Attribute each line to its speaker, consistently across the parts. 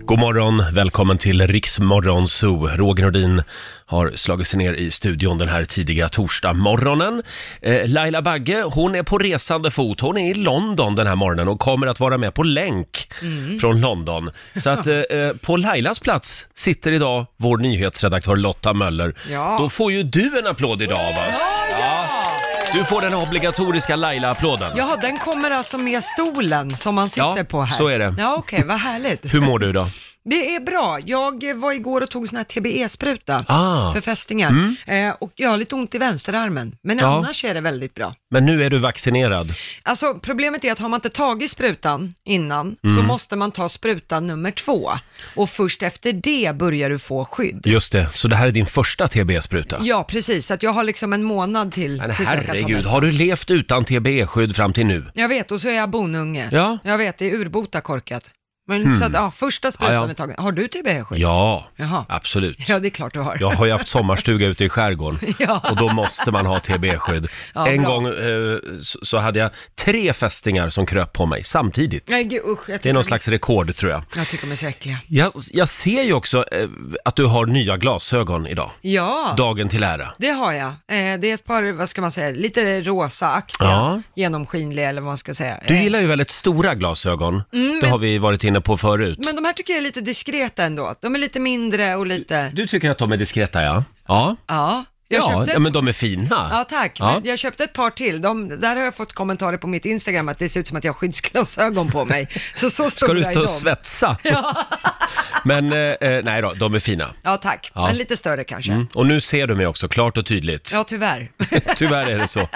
Speaker 1: God morgon, välkommen till Riksmorgon Zoo. Roger Nordin har slagit sig ner i studion den här tidiga torsdagmorgonen. Eh, Laila Bagge, hon är på resande fot. Hon är i London den här morgonen och kommer att vara med på länk
Speaker 2: Mm.
Speaker 1: från London. Så att eh, eh, på Lailas plats sitter idag vår nyhetsredaktör Lotta Möller.
Speaker 2: Ja.
Speaker 1: Då får ju du en applåd idag av oss. Du får den obligatoriska Laila-applåden.
Speaker 2: Jaha, den kommer alltså med stolen som man sitter
Speaker 1: Ja,
Speaker 2: på här?
Speaker 1: så är det.
Speaker 2: Ja, okej, vad härligt.
Speaker 1: Hur mår du idag?
Speaker 2: Det är bra. Jag eh, var igår och tog sån här TBE-spruta
Speaker 1: Ah.
Speaker 2: för fästingar eh, och jag har lite ont i vänsterarmen, men
Speaker 1: Ja.
Speaker 2: annars är det väldigt bra.
Speaker 1: Men nu är du vaccinerad.
Speaker 2: Alltså problemet är att har man inte tagit sprutan innan så
Speaker 1: Mm.
Speaker 2: måste man ta sprutan nummer två och först efter det börjar du få skydd.
Speaker 1: Just det, så det här är din första TB-spruta?
Speaker 2: Ja, precis. Så att jag har liksom en månad till
Speaker 1: Men
Speaker 2: tills jag kan ta
Speaker 1: herregud,
Speaker 2: nästa.
Speaker 1: har du levt utan TB-skydd fram till nu?
Speaker 2: Jag vet, och så är jag bonunge.
Speaker 1: Ja.
Speaker 2: Jag vet, det är urbota korkat. Men så att, ja, första
Speaker 1: Hmm.
Speaker 2: sprutan
Speaker 1: Ja, ja.
Speaker 2: är tagen. Har du TBE-skydd?
Speaker 1: Ja,
Speaker 2: Jaha.
Speaker 1: absolut.
Speaker 2: Ja, det är klart du har.
Speaker 1: Jag har ju haft sommarstuga ute i skärgården
Speaker 2: Ja.
Speaker 1: och då måste man ha TB-skydd.
Speaker 2: Ja,
Speaker 1: en
Speaker 2: bra.
Speaker 1: gång eh, så- så hade jag tre fästingar som kröp på mig samtidigt.
Speaker 2: Nej, gud, usch. Jag
Speaker 1: Det är
Speaker 2: tycker
Speaker 1: någon
Speaker 2: de-
Speaker 1: slags rekord tror jag.
Speaker 2: Jag tycker de är så äckliga.
Speaker 1: Jag, jag ser ju också eh, att du har nya glasögon idag.
Speaker 2: Ja,
Speaker 1: Dagen till ära.
Speaker 2: det har jag. Eh, det är ett par, vad ska man säga, lite rosa-aktiga,
Speaker 1: Ja.
Speaker 2: genomskinliga eller vad man ska säga.
Speaker 1: Du
Speaker 2: Eh, Mm,
Speaker 1: gillar ju väldigt stora glasögon. det har vi varit inne på förut.
Speaker 2: Men de här tycker jag är lite diskreta ändå. De är lite mindre och lite,
Speaker 1: Du tycker att de är diskreta ja. Ja,
Speaker 2: ja. Jag
Speaker 1: ja,
Speaker 2: köpte
Speaker 1: ja
Speaker 2: ett...
Speaker 1: men de är fina.
Speaker 2: Ja tack,
Speaker 1: Ja.
Speaker 2: men jag köpte ett par till. De, där har jag fått kommentarer på mitt Instagram att det ser ut som att jag har skyddsglasögon på mig. Så så
Speaker 1: Ska du
Speaker 2: stora
Speaker 1: ut och
Speaker 2: är de.
Speaker 1: svetsa? Men eh, eh, nej då, de är fina.
Speaker 2: Ja, tack.
Speaker 1: Ja.
Speaker 2: Men lite större kanske.
Speaker 1: Mm. Och nu ser du mig också klart och tydligt.
Speaker 2: Ja, tyvärr.
Speaker 1: Tyvärr är det så.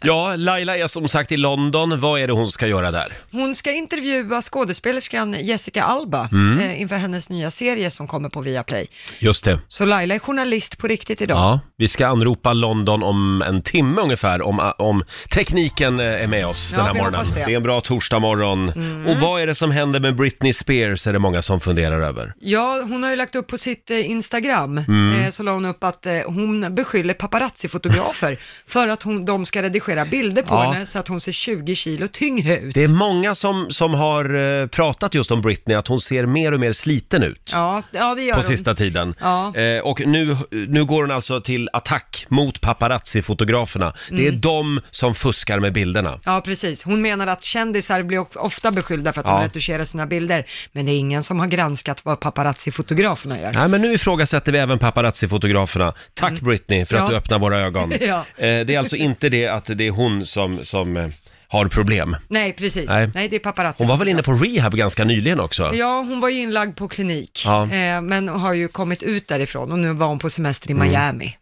Speaker 1: Ja, Laila är som sagt i London. Vad är det hon ska göra där?
Speaker 2: Hon ska intervjua skådespelerskan Jessica Alba
Speaker 1: Mm.
Speaker 2: eh, inför hennes nya serie som kommer på Viaplay.
Speaker 1: Just det.
Speaker 2: Så Laila är journalist på riktigt idag.
Speaker 1: Ja, vi ska anropa London om en timme ungefär, om, om tekniken eh, är med oss
Speaker 2: Ja,
Speaker 1: den här
Speaker 2: vi
Speaker 1: morgonen.
Speaker 2: hoppas det. Mm.
Speaker 1: är en bra torsdagmorgon. Och vad är det som händer med Britney Spears är det många som funderar över.
Speaker 2: Ja, hon har ju lagt upp på sitt eh, Instagram,
Speaker 1: Mm.
Speaker 2: eh, så la hon upp att eh, hon beskyller paparazzi-fotografer för att hon, de ska redigera bilder på
Speaker 1: Ja.
Speaker 2: henne så att hon ser 20 kilo tyngre ut.
Speaker 1: Det är många som, som har eh, pratat just om Britney, att hon ser mer och mer sliten ut.
Speaker 2: Ja, ja, det gör
Speaker 1: på
Speaker 2: hon.
Speaker 1: sista tiden.
Speaker 2: Ja.
Speaker 1: Eh, och nu, nu går hon alltså till attack mot paparazzi-fotograferna. Det
Speaker 2: Mm.
Speaker 1: är de som fuskar med bilderna.
Speaker 2: Ja, precis. Hon menar att kändisar blir of- ofta beskyllda för att
Speaker 1: Ja.
Speaker 2: de retuscherar sina bilder, men det är ingen som har granskat vad paparazzi-fotograferna gör.
Speaker 1: Nej, men nu ifrågasätter vi även paparazzi-fotograferna. Tack Britney för att
Speaker 2: Mm.
Speaker 1: du
Speaker 2: Ja.
Speaker 1: öppnar våra ögon.
Speaker 2: Ja.
Speaker 1: Eh, det är alltså inte det att det är hon som, som eh, har problem.
Speaker 2: Nej, precis.
Speaker 1: Nej.
Speaker 2: Nej, det är paparazzi.
Speaker 1: Hon var väl inne på rehab ganska nyligen också?
Speaker 2: Ja, hon var ju inlagd på klinik,
Speaker 1: Ja.
Speaker 2: eh, men har ju kommit ut därifrån och nu var hon på semester
Speaker 1: Mm.
Speaker 2: i Miami.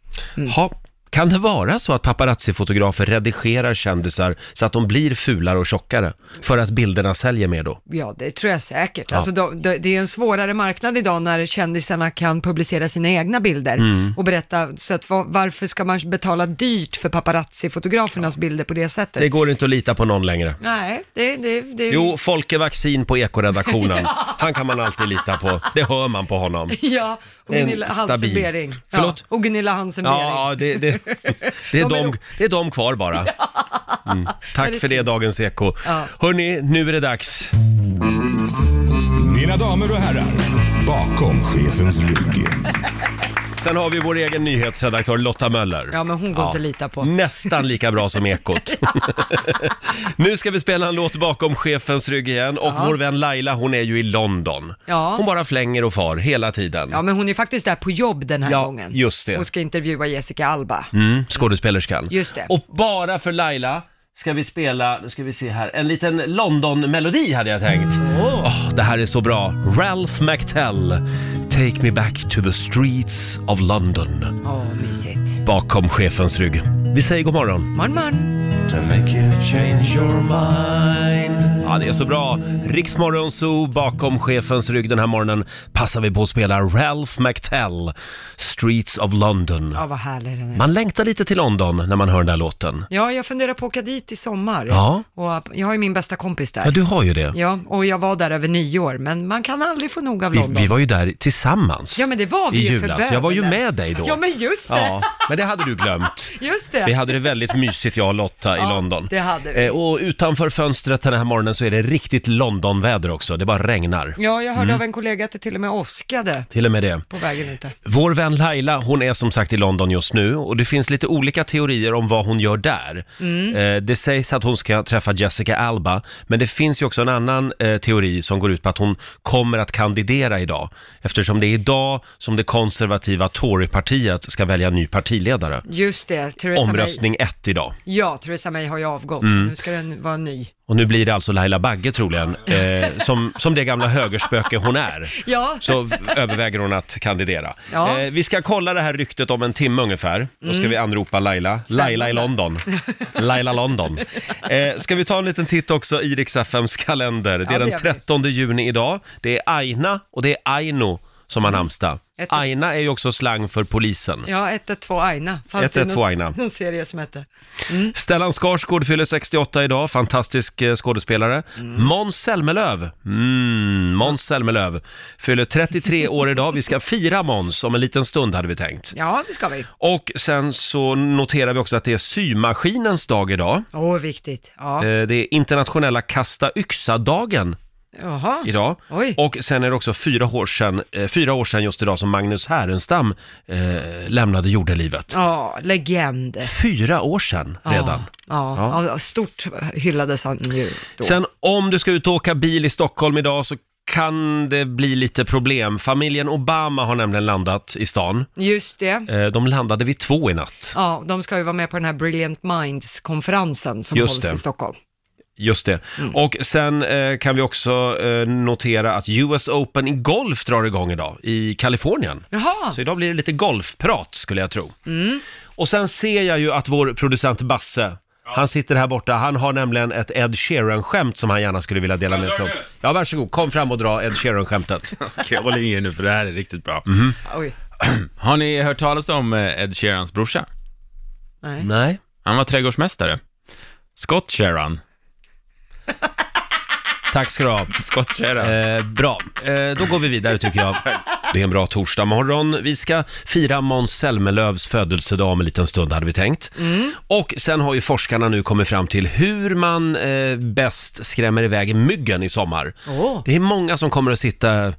Speaker 1: Ha, kan det vara så att paparazzi-fotografer redigerar kändisar så att de blir fulare och tjockare? För att bilderna säljer mer då?
Speaker 2: Ja, det tror jag säkert. Alltså, de, de, det är ju en svårare marknad idag när kändisarna kan publicera sina egna bilder
Speaker 1: Mm.
Speaker 2: och berätta, så att, va- varför ska man betala dyrt för paparazzi-fotografernas bilder på det sättet?
Speaker 1: Det går inte att lita på någon längre.
Speaker 2: Nej, det, det, det...
Speaker 1: Jo, Folke Vaccin på Ekoredaktionen. Han kan man alltid lita på. Det hör man på honom.
Speaker 2: Ja, och
Speaker 1: En
Speaker 2: Gunilla
Speaker 1: stabil-
Speaker 2: Hansen-Bering.
Speaker 1: Förlåt?
Speaker 2: Ja, och Gunilla Hansen-Bering.
Speaker 1: Ja, det, det, det, är
Speaker 2: De är
Speaker 1: de,
Speaker 2: nog-
Speaker 1: det är de kvar bara. Mm. Tack för det, Dagens Eko.
Speaker 2: Ja.
Speaker 1: Hörni, nu är det dags.
Speaker 3: Mina damer och herrar, bakom chefens rygg.
Speaker 1: Sen har vi vår egen nyhetsredaktör Lotta Möller.
Speaker 2: Ja, men hon går inte att lita på.
Speaker 1: Nästan lika bra som Ekot. nu ska vi spela en låt bakom chefens rygg igen och vår vän Laila hon är ju i London.
Speaker 2: Ja.
Speaker 1: Hon bara flänger och far hela tiden.
Speaker 2: Ja, men hon är faktiskt där på jobb den här
Speaker 1: Ja,
Speaker 2: gången.
Speaker 1: just det.
Speaker 2: Hon ska intervjua Jessica Alba.
Speaker 1: Mm, skådespelerskan.
Speaker 2: Just det.
Speaker 1: Och bara för Laila ska vi spela, nu ska vi se här, en liten London-melodi hade jag tänkt. Åh, det här är så bra. Ralph McTell, Take Me Back to the Streets of London,
Speaker 2: Åh, mysigt.
Speaker 1: bakom chefens rygg. Vi säger god morgon.
Speaker 2: Man, man.
Speaker 1: Ja, det är så bra. Riksmorgon Zoo bakom chefens rygg den här morgonen passar vi på att spela Ralph McTell, Streets of London.
Speaker 2: Ja, vad härlig den är.
Speaker 1: Man längtar lite till London när man hör den där låten.
Speaker 2: Ja, jag funderar på att åka dit i sommar.
Speaker 1: Ja.
Speaker 2: Och äh, jag har ju min bästa kompis där.
Speaker 1: Ja, du har ju det.
Speaker 2: Ja, och jag var där över nyår, men man kan aldrig få nog av
Speaker 1: Vi,
Speaker 2: London.
Speaker 1: vi var ju där tillsammans
Speaker 2: Ja, men det var vi
Speaker 1: i
Speaker 2: ju för
Speaker 1: julas. Jag var ju
Speaker 2: bönen.
Speaker 1: med dig då.
Speaker 2: Ja, men just det.
Speaker 1: Ja, Men det hade du glömt.
Speaker 2: Just
Speaker 1: Vi
Speaker 2: det.
Speaker 1: hade det väldigt mysigt jag och Lotta i
Speaker 2: Ja,
Speaker 1: London.
Speaker 2: det hade vi.
Speaker 1: Eh, Och utanför fönstret den här morgonen så är det riktigt Londonväder också. Det bara regnar.
Speaker 2: Ja, jag hörde
Speaker 1: Mm.
Speaker 2: av en kollega att det till och med åskade
Speaker 1: Till och med det.
Speaker 2: på vägen ut. där.
Speaker 1: Vår vän Laila, hon är som sagt i London just nu och det finns lite olika teorier om vad hon gör där. Eh, Det sägs att hon ska träffa Jessica Alba, men det finns ju också en annan eh, teori som går ut på att hon kommer att kandidera idag, eftersom det är idag som det konservativa Torypartiet ska välja ny partiledare.
Speaker 2: Just det, Theresa
Speaker 1: Omröstning ett idag.
Speaker 2: May. Ja, Theresa May har ju avgått,
Speaker 1: Mm.
Speaker 2: så nu ska den vara ny.
Speaker 1: Och nu blir det alltså Laila Bagge troligen, eh, som, som det gamla högerspöke hon är.
Speaker 2: Ja,
Speaker 1: Så v- överväger hon att kandidera.
Speaker 2: Ja. Mm.
Speaker 1: Eh, vi ska kolla det här ryktet om en timme ungefär. Då ska vi anropa Laila. Laila i London. Laila London. Eh, ska vi ta en liten titt också i Rix FMs kalender. Det är
Speaker 2: Ja, det
Speaker 1: den
Speaker 2: gör vi.
Speaker 1: 13 juni idag. Det är Aina och det är Aino som har namnsdag.
Speaker 2: Mm. Ett-
Speaker 1: Aina är ju också slang för polisen.
Speaker 2: ja 112 Aina. Fanns det
Speaker 1: 112
Speaker 2: någon-
Speaker 1: Aina.
Speaker 2: Någon serie som hette. Mm.
Speaker 1: Stellan Skarsgård fyller 68 idag, fantastisk eh, skådespelare.
Speaker 2: Mm.
Speaker 1: Måns Zelmerlöw, mm, Måns Zelmerlöw fyller 33 år idag. Vi ska fira Måns om en liten stund hade vi tänkt.
Speaker 2: Ja, det ska vi.
Speaker 1: Och sen så noterar vi också att det är symaskinens dag idag.
Speaker 2: Åh, viktigt. Ja.
Speaker 1: Eh, Det är internationella kasta yxa-dagen
Speaker 2: Jaha.
Speaker 1: idag.
Speaker 2: Oj.
Speaker 1: Och sen är det också fyra år sedan, eh, fyra år sedan just idag som Magnus Härenstam eh, lämnade jordelivet.
Speaker 2: Ja, legend.
Speaker 1: Fyra år sedan redan.
Speaker 2: Ja, ja. ja, stort hyllades han ju då.
Speaker 1: Sen om du ska ut och åka bil i Stockholm idag så kan det bli lite problem. Familjen Obama har nämligen landat i stan.
Speaker 2: Just det.
Speaker 1: Eh, De landade vid två i natt.
Speaker 2: Ja, de ska ju vara med på den här Brilliant Minds-konferensen som
Speaker 1: Just
Speaker 2: hålls
Speaker 1: det.
Speaker 2: i Stockholm.
Speaker 1: Just det. Och sen eh, kan vi också eh, notera att US Open i golf drar igång idag i Kalifornien.
Speaker 2: Jaha,
Speaker 1: Så idag blir det lite golfprat skulle jag tro. Och sen ser jag ju att vår producent Basse, han sitter här borta, han har nämligen ett Ed Sheeran-skämt som han gärna skulle vilja dela med sig av. Ja, varsågod, kom fram och dra Ed Sheeran-skämtet.
Speaker 4: Okej, håll i er nu för det här är riktigt bra.
Speaker 2: oj.
Speaker 4: Har ni hört talas om eh, Ed Sheerans brorsa?
Speaker 2: Nej.
Speaker 1: Nej.
Speaker 4: Han var trädgårdsmästare. Scott Sheeran.
Speaker 1: Tack ska du ha.
Speaker 4: Scott Sheeran.
Speaker 1: Eh, bra, eh, då går vi vidare tycker jag. Det är en bra torsdag morgon. Vi ska fira Måns Zelmerlöws födelsedag om en liten stund hade vi tänkt.
Speaker 2: Mm.
Speaker 1: Och sen har ju forskarna nu kommit fram till hur man eh, bäst skrämmer iväg myggen i sommar.
Speaker 2: Åh.
Speaker 1: Det är många som kommer att sitta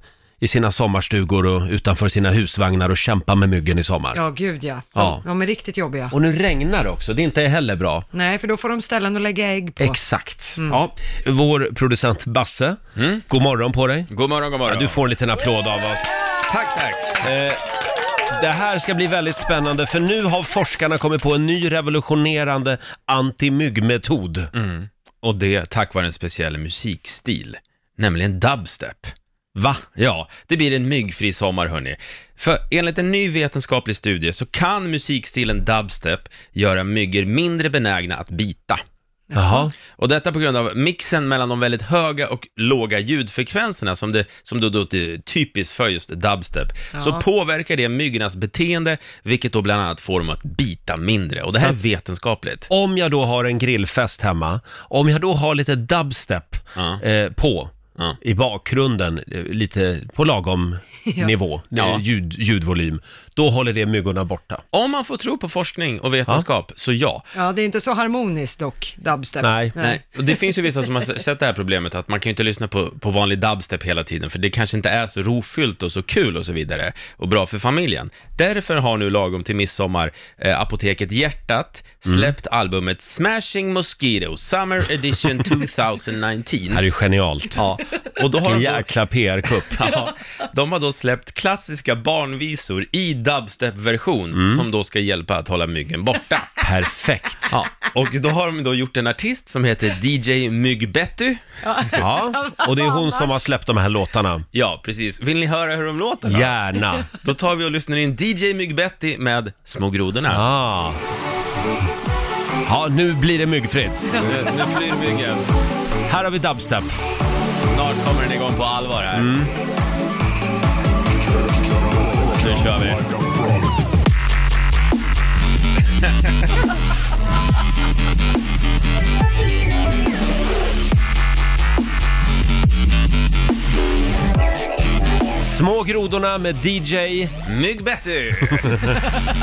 Speaker 1: i sina sommarstugor och utanför sina husvagnar och kämpa med myggen i sommar.
Speaker 2: Ja, gud ja. De,
Speaker 1: Ja.
Speaker 2: de är riktigt jobbiga.
Speaker 1: Och nu regnar det också, det är inte heller bra.
Speaker 2: Nej, för då får de ställen att lägga ägg på.
Speaker 1: Exakt.
Speaker 2: Mm.
Speaker 1: Ja. Vår producent Basse, god morgon på dig.
Speaker 4: God morgon, god morgon.
Speaker 1: Ja, du får en liten applåd av oss.
Speaker 4: Tack, tack.
Speaker 1: Eh, Det här ska bli väldigt spännande för nu har forskarna kommit på en ny revolutionerande antimyggmetod.
Speaker 4: Mm. Och det tack vare en speciell musikstil, nämligen dubstep.
Speaker 1: Va?
Speaker 4: Ja, det blir en myggfri sommar hörni. För enligt en ny vetenskaplig studie så kan musikstilen dubstep göra myggor mindre benägna att bita.
Speaker 1: Jaha.
Speaker 4: Och detta på grund av mixen mellan de väldigt höga och låga ljudfrekvenserna som, det, som då, då är typiskt för just dubstep. Så påverkar det myggornas beteende, vilket då bland annat får dem att bita mindre. Och det här är vetenskapligt.
Speaker 1: Om jag då har en grillfest hemma, om jag då har lite dubstep
Speaker 4: Ja.
Speaker 1: eh, på
Speaker 4: Ja.
Speaker 1: i bakgrunden, eh, lite på lagom nivå,
Speaker 4: Ja.
Speaker 1: eh, Ljud, ljudvolym, då håller det myggorna borta.
Speaker 4: Om man får tro på forskning och vetenskap, så ja.
Speaker 2: Ja, det är inte så harmoniskt dock, dubstep.
Speaker 1: Nej.
Speaker 4: Nej. Och det finns ju vissa som har s- sett det här problemet att man kan ju inte lyssna på, på vanlig dubstep hela tiden för det kanske inte är så rofyllt och så kul och så vidare och bra för familjen. Därför har nu lagom till midsommar eh, Apoteket Hjärtat släppt
Speaker 1: Mm.
Speaker 4: albumet Smashing Mosquito Summer Edition 2019.
Speaker 1: Det här är ju genialt.
Speaker 4: Ja, och då har
Speaker 1: Vilken
Speaker 4: de då,
Speaker 1: jäkla PR-kupp.
Speaker 4: ja, de har då släppt klassiska barnvisor i dubstep-version
Speaker 1: Mm.
Speaker 4: som då ska hjälpa att hålla myggen borta.
Speaker 1: Perfekt.
Speaker 4: Ja, och då har de då gjort en artist som heter DJ Myggbetty.
Speaker 1: Ja. Och det är hon som har släppt de här låtarna.
Speaker 4: Ja, precis. Vill ni höra hur de låter? då?
Speaker 1: Gärna.
Speaker 4: Då tar vi och lyssnar in DJ Myggbetty med Små grodorna.
Speaker 1: Ah. Ja, nu blir det myggfritt.
Speaker 4: Nu, nu flyr myggen.
Speaker 1: Här har vi dubstep.
Speaker 4: Snart kommer den igång på allvar här.
Speaker 1: Mm.
Speaker 4: Nu kör vi.
Speaker 1: Små grodorna med DJ.
Speaker 4: Myggbetty!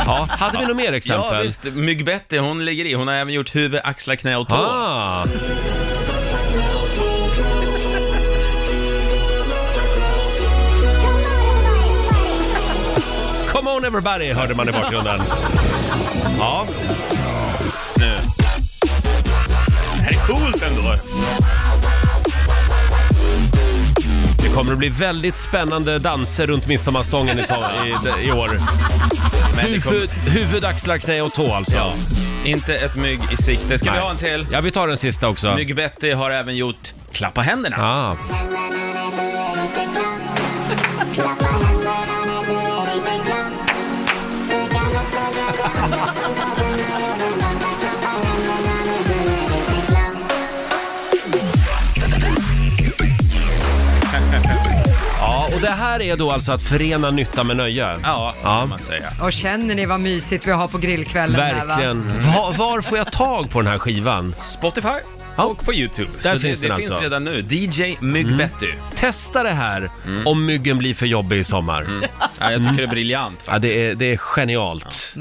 Speaker 1: Ja, hade vi något mer exempel?
Speaker 4: Ja visst, Myggbetty hon ligger i. Hon har även gjort huvud, axlar, knä och tå.
Speaker 1: Ah. Come on everybody hörde man i bakgrunden. Ja,
Speaker 4: Det här är coolt ändå!
Speaker 1: det kommer att bli väldigt spännande danser runt midsommarstången i, so- i, i år.
Speaker 4: Men det kommer...
Speaker 1: Huvud, huvud, axlar, knä och tå alltså.
Speaker 4: Ja, inte ett mygg i sikte. Ska vi
Speaker 1: Nej.
Speaker 4: ha en till?
Speaker 1: Ja, vi tar den sista också.
Speaker 4: Myggbetty har även gjort klappa händerna.
Speaker 1: Ah. Ja, och det här är då alltså att förena nytta med nöje.
Speaker 4: Ja,
Speaker 1: Ja.
Speaker 4: kan man säga.
Speaker 2: Och känner ni vad mysigt vi har på grillkvällen här va?
Speaker 1: Verkligen. Var, var får jag tag på den här skivan?
Speaker 4: Spotify
Speaker 1: Ja.
Speaker 4: och på YouTube.
Speaker 1: Där
Speaker 4: Så
Speaker 1: finns
Speaker 4: det,
Speaker 1: den
Speaker 4: det
Speaker 1: alltså.
Speaker 4: finns redan nu. DJ Myggbetty.
Speaker 1: Testa det här
Speaker 2: Mm.
Speaker 1: om myggen blir för jobbig i sommar.
Speaker 4: Ja, jag tycker det är briljant
Speaker 1: Ja,
Speaker 4: faktiskt.
Speaker 1: det är, det är genialt.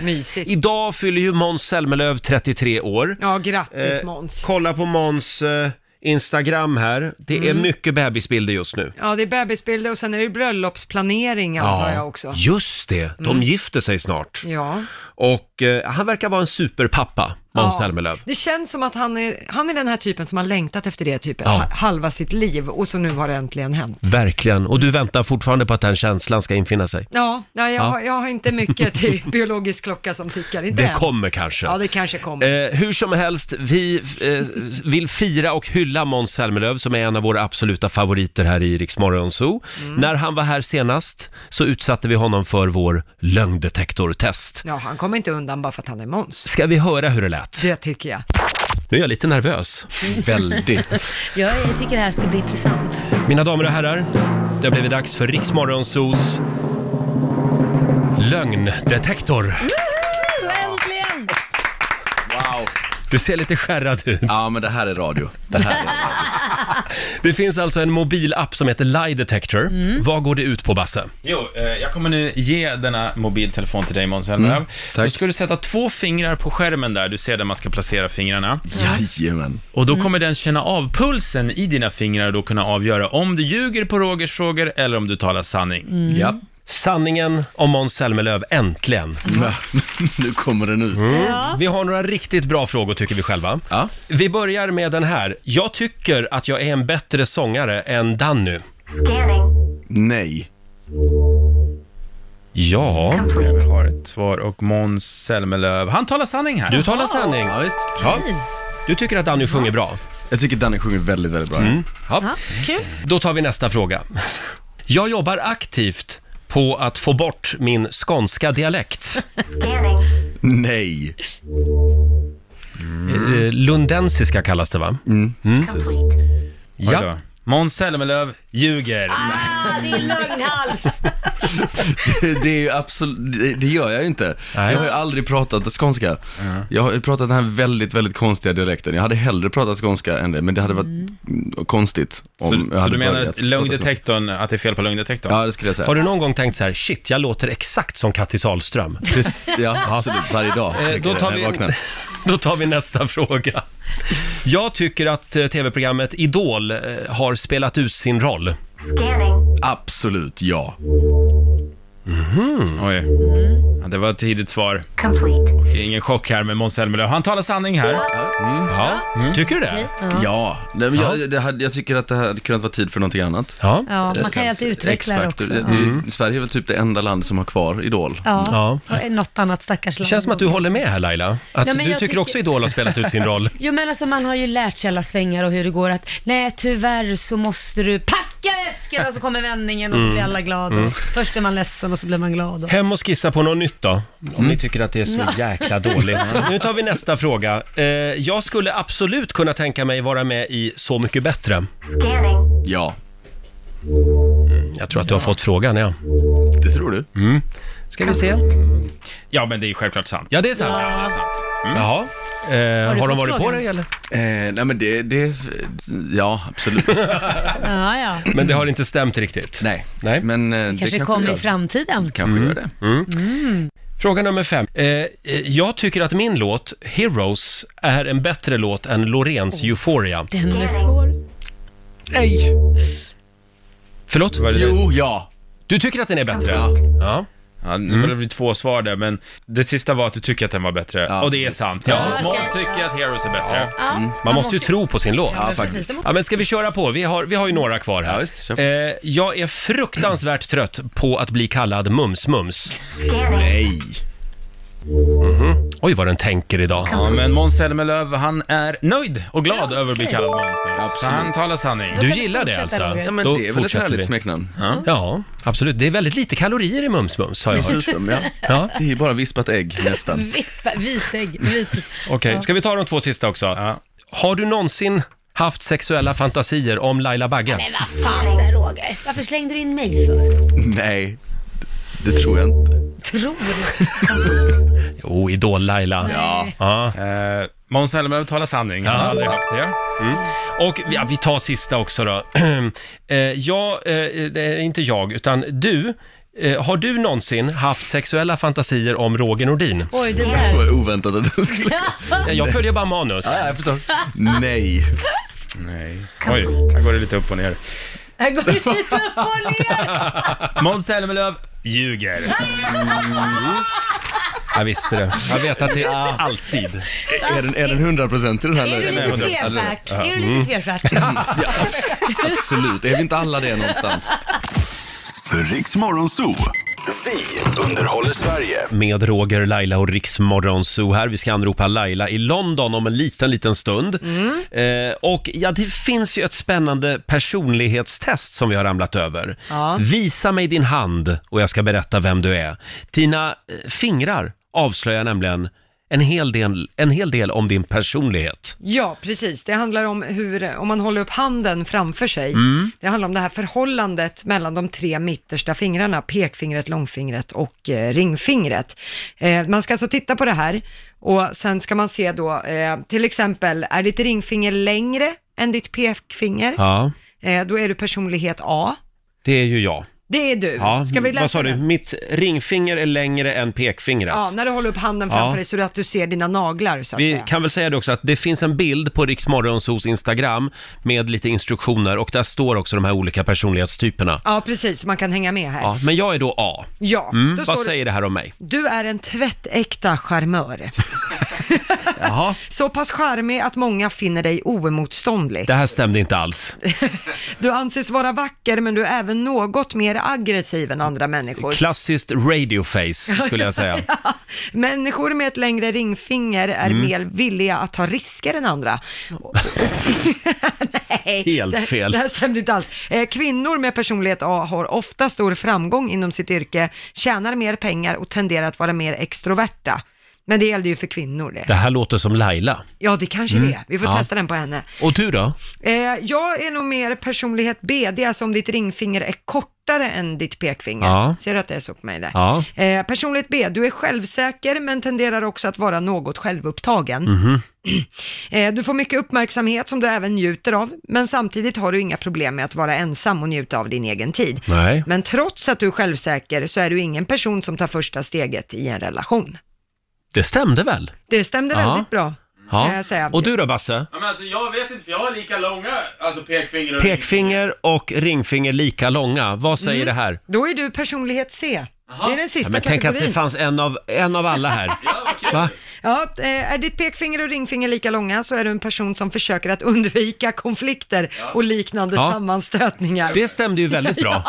Speaker 2: Mysigt.
Speaker 1: Idag fyller ju Måns Zelmerlöw 33 år.
Speaker 2: Ja, grattis
Speaker 1: Eh,
Speaker 2: Måns.
Speaker 1: Kolla på Måns eh, Instagram här. Det
Speaker 2: Mm.
Speaker 1: är mycket bebisbilder just nu.
Speaker 2: Ja, det är bebisbilder och sen är det bröllopsplanering antar jag också. Mm.
Speaker 1: just det. De gifter sig snart.
Speaker 2: Ja.
Speaker 1: Och eh, han verkar vara en superpappa, Måns
Speaker 2: Ja.
Speaker 1: Zelmerlöw.
Speaker 2: Det känns som att han är, han är den här typen som har längtat efter det typen
Speaker 1: Ja.
Speaker 2: ha- halva sitt liv och så nu har det äntligen hänt.
Speaker 1: Verkligen. Och du väntar fortfarande på att den känslan ska infinna sig?
Speaker 2: Ja, nej, jag,
Speaker 1: Ja.
Speaker 2: Har, jag har inte mycket till biologisk klocka som tickar. Inte
Speaker 1: Det
Speaker 2: än.
Speaker 1: kommer kanske.
Speaker 2: Ja, det kanske kommer.
Speaker 1: Eh, hur som helst, vi eh, vill fira och hylla Måns Zelmerlöw som är en av våra absoluta favoriter här i Rix Morgon Zoo.
Speaker 2: Mm.
Speaker 1: När han var här senast så utsatte vi honom för vår lögndetektortest.
Speaker 2: Ja, han kommer inte undan bara för att han är Måns.
Speaker 1: Ska vi höra hur det lät?
Speaker 2: Det tycker jag.
Speaker 1: Nu är jag lite nervös. Väldigt.
Speaker 5: Jag tycker det här ska bli intressant.
Speaker 1: Mina damer och herrar, det har blivit dags för Rix Morgon Zoos lögndetektor.
Speaker 5: Äntligen!
Speaker 6: Wow.
Speaker 1: Du ser lite skärrad ut.
Speaker 6: Ja, men det här är radio. Det här är radio.
Speaker 1: Det finns alltså en mobilapp som heter Lie Detector.
Speaker 6: Mm.
Speaker 1: Vad går det ut på, Basse?
Speaker 4: Jo, eh, jag kommer nu ge denna mobiltelefon till dig Måns Zelmerlöw. Då
Speaker 6: tack.
Speaker 4: ska du sätta två fingrar på skärmen där, du ser där man ska placera fingrarna.
Speaker 6: Jajamän.
Speaker 4: Och då kommer den känna av pulsen i dina fingrar och då kunna avgöra om du ljuger på Rogers frågor eller om du talar sanning.
Speaker 1: Mm.
Speaker 6: Ja.
Speaker 1: Sanningen om Måns Zelmerlöw, äntligen. Mm.
Speaker 6: Va? nu kommer den ut.
Speaker 1: Vi har några riktigt bra frågor tycker vi själva.
Speaker 6: Ja.
Speaker 1: Vi börjar med den här. Jag tycker att jag är en bättre sångare än Danny.
Speaker 7: Scanning.
Speaker 6: Nej.
Speaker 1: Ja,
Speaker 4: Jag har ett svar och Måns Zelmerlöw, han talar sanning här.
Speaker 1: du talar sanning.
Speaker 6: Ja, visst.
Speaker 1: Ja. Du tycker att Danny sjunger bra.
Speaker 6: Jag tycker Danny sjunger väldigt, väldigt bra.
Speaker 1: Ja.
Speaker 5: Kul.
Speaker 1: Då tar vi nästa fråga. Jag jobbar aktivt på att få bort min skånska dialekt.
Speaker 7: Scanning.
Speaker 6: Nej.
Speaker 1: Eh, Lundensiska kallas det va? Mm.
Speaker 7: Complete.
Speaker 4: Mm. Oj då. Måns Zelmerlöw ljuger.
Speaker 5: Ah, det är lögnhals!
Speaker 6: Det är ju absolut, det- det gör jag ju inte.
Speaker 1: Nej.
Speaker 6: Jag har ju aldrig pratat skånska. Jag har ju pratat den här väldigt, väldigt konstiga dialekten. Jag hade hellre pratat skånska än det, men det hade varit mm, konstigt om jag
Speaker 4: Så, så
Speaker 6: hade
Speaker 4: du menar
Speaker 6: börjat
Speaker 4: att
Speaker 6: prata
Speaker 4: lögndetektorn, att det är fel på
Speaker 6: skånska.
Speaker 4: lögndetektorn?
Speaker 6: Ja, det skulle jag säga.
Speaker 1: Har du någon gång tänkt så här, shit, jag låter exakt som Kattis Ahlström?
Speaker 6: Precis, ja, absolut. Varje dag.
Speaker 1: Eh,
Speaker 6: tänker
Speaker 1: då,
Speaker 6: jag
Speaker 1: tar
Speaker 6: när jag
Speaker 1: vi,
Speaker 6: vaknar.
Speaker 1: då tar vi nästa fråga. Jag tycker att eh, tv-programmet Idol eh, har spelat ut sin roll.
Speaker 7: Scanning.
Speaker 6: Absolut ja.
Speaker 4: Oj. Ja, det var ett tidigt svar.
Speaker 7: Complete.
Speaker 4: Ingen chock här med Måns Zelmerlöw. Han talar sanning här.
Speaker 1: Ja. Tycker du det?
Speaker 6: Ja. Nej, men jag, det hade, jag tycker att det hade kunnat vara tid för någonting annat.
Speaker 1: Ja.
Speaker 5: Ja, man kan ju alltid utveckla det
Speaker 6: X-Factor.
Speaker 5: också.
Speaker 6: Det-
Speaker 5: Ja.
Speaker 6: det- Sverige är väl typ det enda land som har kvar Idol.
Speaker 5: Ja,
Speaker 1: Ja.
Speaker 5: och något annat stackars
Speaker 1: Det
Speaker 5: land.
Speaker 1: känns som att du håller med här Laila. Att
Speaker 5: Ja,
Speaker 1: du
Speaker 5: men
Speaker 1: tycker,
Speaker 5: jag tycker-
Speaker 1: också Idol har spelat ut sin roll.
Speaker 5: Jo men alltså man har ju lärt sig alla svängar och hur det går att nej tyvärr så måste du packa väskorna och så kommer vändningen och så
Speaker 1: Mm.
Speaker 5: blir alla glada. Först blir man ledsen och så blir man glad. Och...
Speaker 1: Hem och skissa på något nytt då, om
Speaker 4: Mm.
Speaker 1: ni tycker att det är så jäkla dåligt. Nu tar vi nästa fråga. Eh, jag skulle absolut kunna tänka mig vara med i Så mycket bättre.
Speaker 7: Scanning.
Speaker 6: Ja,
Speaker 1: Jag tror att du har fått frågan, ja.
Speaker 6: det tror du.
Speaker 1: Ska vi se?
Speaker 4: Ja, men det är ju självklart sant.
Speaker 1: Ja, det är sant.
Speaker 4: Ja, det är sant.
Speaker 1: Jaha. Eh, Mm. har,
Speaker 5: du
Speaker 1: de
Speaker 5: fått
Speaker 1: varit på
Speaker 5: frågan?
Speaker 1: dig eller?
Speaker 6: Eh, nej men det, det, ja absolut.
Speaker 5: Ja, ja. Det
Speaker 1: Men det har inte stämt riktigt.
Speaker 6: nej.
Speaker 1: Nej. Mm.
Speaker 6: Men eh, det
Speaker 5: kanske
Speaker 6: kanske
Speaker 5: kommer i
Speaker 6: gör.
Speaker 5: framtiden.
Speaker 6: Kanske gör det.
Speaker 1: Fråga nummer fem. Eh, eh, jag tycker att min låt, Heroes, är en bättre låt än Loreens Euphoria.
Speaker 5: Den är
Speaker 7: Scanning.
Speaker 5: svår.
Speaker 6: Nej!
Speaker 1: Förlåt?
Speaker 4: Var det det?
Speaker 6: Jo, ja.
Speaker 1: Du tycker att den är bättre?
Speaker 6: Ja.
Speaker 1: Ja.
Speaker 4: Ja, nu börjar det bli två svar där, men det sista var att du tycker att den var bättre.
Speaker 6: Ja.
Speaker 4: Och det är sant. Ja. Måns tycker att Heroes är bättre.
Speaker 5: Ja.
Speaker 1: Man måste ju tro på sin låt.
Speaker 5: Ja,
Speaker 1: Ja.
Speaker 5: men
Speaker 6: faktiskt.
Speaker 5: precis. Det-
Speaker 1: men ska vi köra på? Vi har, vi har ju några kvar här.
Speaker 6: Ja, visst, kör på.
Speaker 1: eh, jag är fruktansvärt trött på att bli kallad Mums-Mums. Mhm.
Speaker 7: Scanning.
Speaker 6: Nej.
Speaker 1: Oj, vad den tänker idag.
Speaker 4: Ja, men Måns Zelmerlöw, han är nöjd och glad över att bli kallad Måns. Så
Speaker 6: Absolut.
Speaker 4: han talar sanning.
Speaker 1: Du
Speaker 5: kan vi
Speaker 1: gillar det
Speaker 5: fortsätta,
Speaker 1: alltså?
Speaker 5: Roger.
Speaker 6: Ja, men
Speaker 1: Då
Speaker 6: det är väl ett
Speaker 1: fortsätter
Speaker 6: härligt
Speaker 1: vi.
Speaker 6: smeknamn.
Speaker 1: Ja, absolut. Det är väldigt lite kalorier i Mums-Mums har jag hört.
Speaker 6: Dessutom, ja.
Speaker 1: Ja,
Speaker 6: Det är ju bara vispat ägg nästan.
Speaker 5: Vispa, vitägg, vit.
Speaker 1: okej. Ska vi ta de två sista också?
Speaker 4: Ja.
Speaker 1: Har du någonsin haft sexuella fantasier om Laila Bagge?
Speaker 5: Men vad fasen Roger, varför slängde du in mig för?
Speaker 6: Nej, det tror jag inte.
Speaker 5: Tror du?
Speaker 1: Jo, Idol-Laila.
Speaker 5: Ja.
Speaker 1: Ja.
Speaker 4: Eh, Måns Zelmerlöw talar sanning. Han har aldrig haft det.
Speaker 1: Och ja, vi tar sista också då. eh, jag, eh, det är inte jag, utan du. Eh, har du någonsin haft sexuella fantasier om Roger Nordin?
Speaker 5: Oj, det
Speaker 6: Det
Speaker 5: där.
Speaker 6: var oväntat att det skulle...
Speaker 1: Eh, Jag följer bara manus.
Speaker 6: Ja, jag förstår. Nej.
Speaker 4: Nej. Oj, här går det lite upp och ner.
Speaker 5: Här går det lite upp och ner.
Speaker 4: Måns Zelmerlöw ljuger.
Speaker 1: Jag visste det. Jag vet att det är alltid.
Speaker 6: Är den, är den 100 procent i den här
Speaker 5: Är du
Speaker 6: lögnen?
Speaker 5: lite tvestjärt? Är du lite tvestjärt?
Speaker 6: Mm. Ja, absolut. Är vi inte alla det någonstans?
Speaker 3: Riks Morgonzoo. Vi underhåller Sverige.
Speaker 1: Med Roger, Laila och Riksmorgon Zoo här. Vi ska anropa Laila i London om en liten, liten stund.
Speaker 2: Mm.
Speaker 1: Eh, och ja, det finns ju ett spännande personlighetstest som vi har ramlat över.
Speaker 2: Ja.
Speaker 1: Visa mig din hand och jag ska berätta vem du är. Dina eh, fingrar avslöjar nämligen en hel, del, en hel del om din personlighet.
Speaker 2: Ja, precis. Det handlar om hur, om man håller upp handen framför sig.
Speaker 1: Mm.
Speaker 2: Det handlar om det här förhållandet mellan de tre mittersta fingrarna, pekfingret, långfingret och eh, ringfingret. Eh, man ska alltså titta på det här och sen ska man se då, eh, till exempel, är ditt ringfinger längre än ditt pekfinger?
Speaker 1: Ja,
Speaker 2: Eh, då är du personlighet A.
Speaker 1: det är ju jag.
Speaker 2: Det är du.
Speaker 1: Ja,
Speaker 2: ska vi läsa
Speaker 1: vad sa du?
Speaker 2: den?
Speaker 1: Mitt ringfinger är längre än pekfingret.
Speaker 2: Ja, när du håller upp handen framför
Speaker 1: Ja.
Speaker 2: dig så att du ser dina naglar så att
Speaker 1: Vi
Speaker 2: säga.
Speaker 1: kan väl säga det också att det finns en bild på Riksmorgonsos Instagram med lite instruktioner och där står också de här olika personlighetstyperna.
Speaker 2: Ja, precis. Man kan hänga med här. Ja,
Speaker 1: Ja, men jag är då A. Mm,
Speaker 2: då
Speaker 1: vad
Speaker 2: står det-
Speaker 1: säger det här om mig?
Speaker 2: Du är en tvättäkta charmör.
Speaker 1: Jaha,
Speaker 2: Så pass charmig att många finner dig oemotståndlig.
Speaker 1: det här stämde inte alls.
Speaker 2: Du anses vara vacker men du är även något mer aggressiv än andra människor.
Speaker 1: Klassiskt radioface skulle jag säga.
Speaker 2: Människor med ett längre ringfinger är
Speaker 1: Mm.
Speaker 2: mer villiga att ta risker än andra. Nej,
Speaker 1: Helt
Speaker 2: det-
Speaker 1: fel.
Speaker 2: Det här stämde inte alls. Eh, Kvinnor med personlighet A har ofta stor framgång inom sitt yrke, tjänar mer pengar och tenderar att vara mer extroverta. Men det gällde ju för kvinnor det.
Speaker 1: Det här låter som Laila.
Speaker 2: Ja, det kanske
Speaker 1: Mm.
Speaker 2: det är. Vi får testa den på henne.
Speaker 1: Och du då?
Speaker 2: Eh, jag är nog mer personlighet B, det är alltså om ditt ringfinger är kortare än ditt pekfinger.
Speaker 1: Ja.
Speaker 2: Ser du att det är så på mig där?
Speaker 1: Ja.
Speaker 2: Eh, personlighet B, du är självsäker men tenderar också att vara något självupptagen.
Speaker 1: Mhm.
Speaker 2: Eh, du får mycket uppmärksamhet som du även njuter av, men samtidigt har du inga problem med att vara ensam och njuta av din egen tid.
Speaker 1: Nej.
Speaker 2: Men trots att du är självsäker så är du ingen person som tar första steget i en relation.
Speaker 1: Det stämde väl?
Speaker 2: Det stämde
Speaker 1: Ja.
Speaker 2: väldigt bra. kan
Speaker 1: Ja.
Speaker 2: jag säga.
Speaker 1: Och du då Basse?
Speaker 4: Ja, men alltså, jag vet inte, för jag har lika långa alltså, pekfinger och
Speaker 1: Pekfinger och ringfinger lika långa. Vad säger det här?
Speaker 2: Då är du personlighet C. Det är den
Speaker 1: Ja,
Speaker 2: Mm. sista
Speaker 1: men tänk att
Speaker 2: kategorin.
Speaker 1: det fanns en av, en av alla här. Va?
Speaker 2: Ja, eh, är ditt pekfinger och ringfinger lika långa så är du en person som försöker att undvika konflikter och liknande
Speaker 1: Ja.
Speaker 2: sammanstötningar.
Speaker 1: Det stämde ju väldigt bra.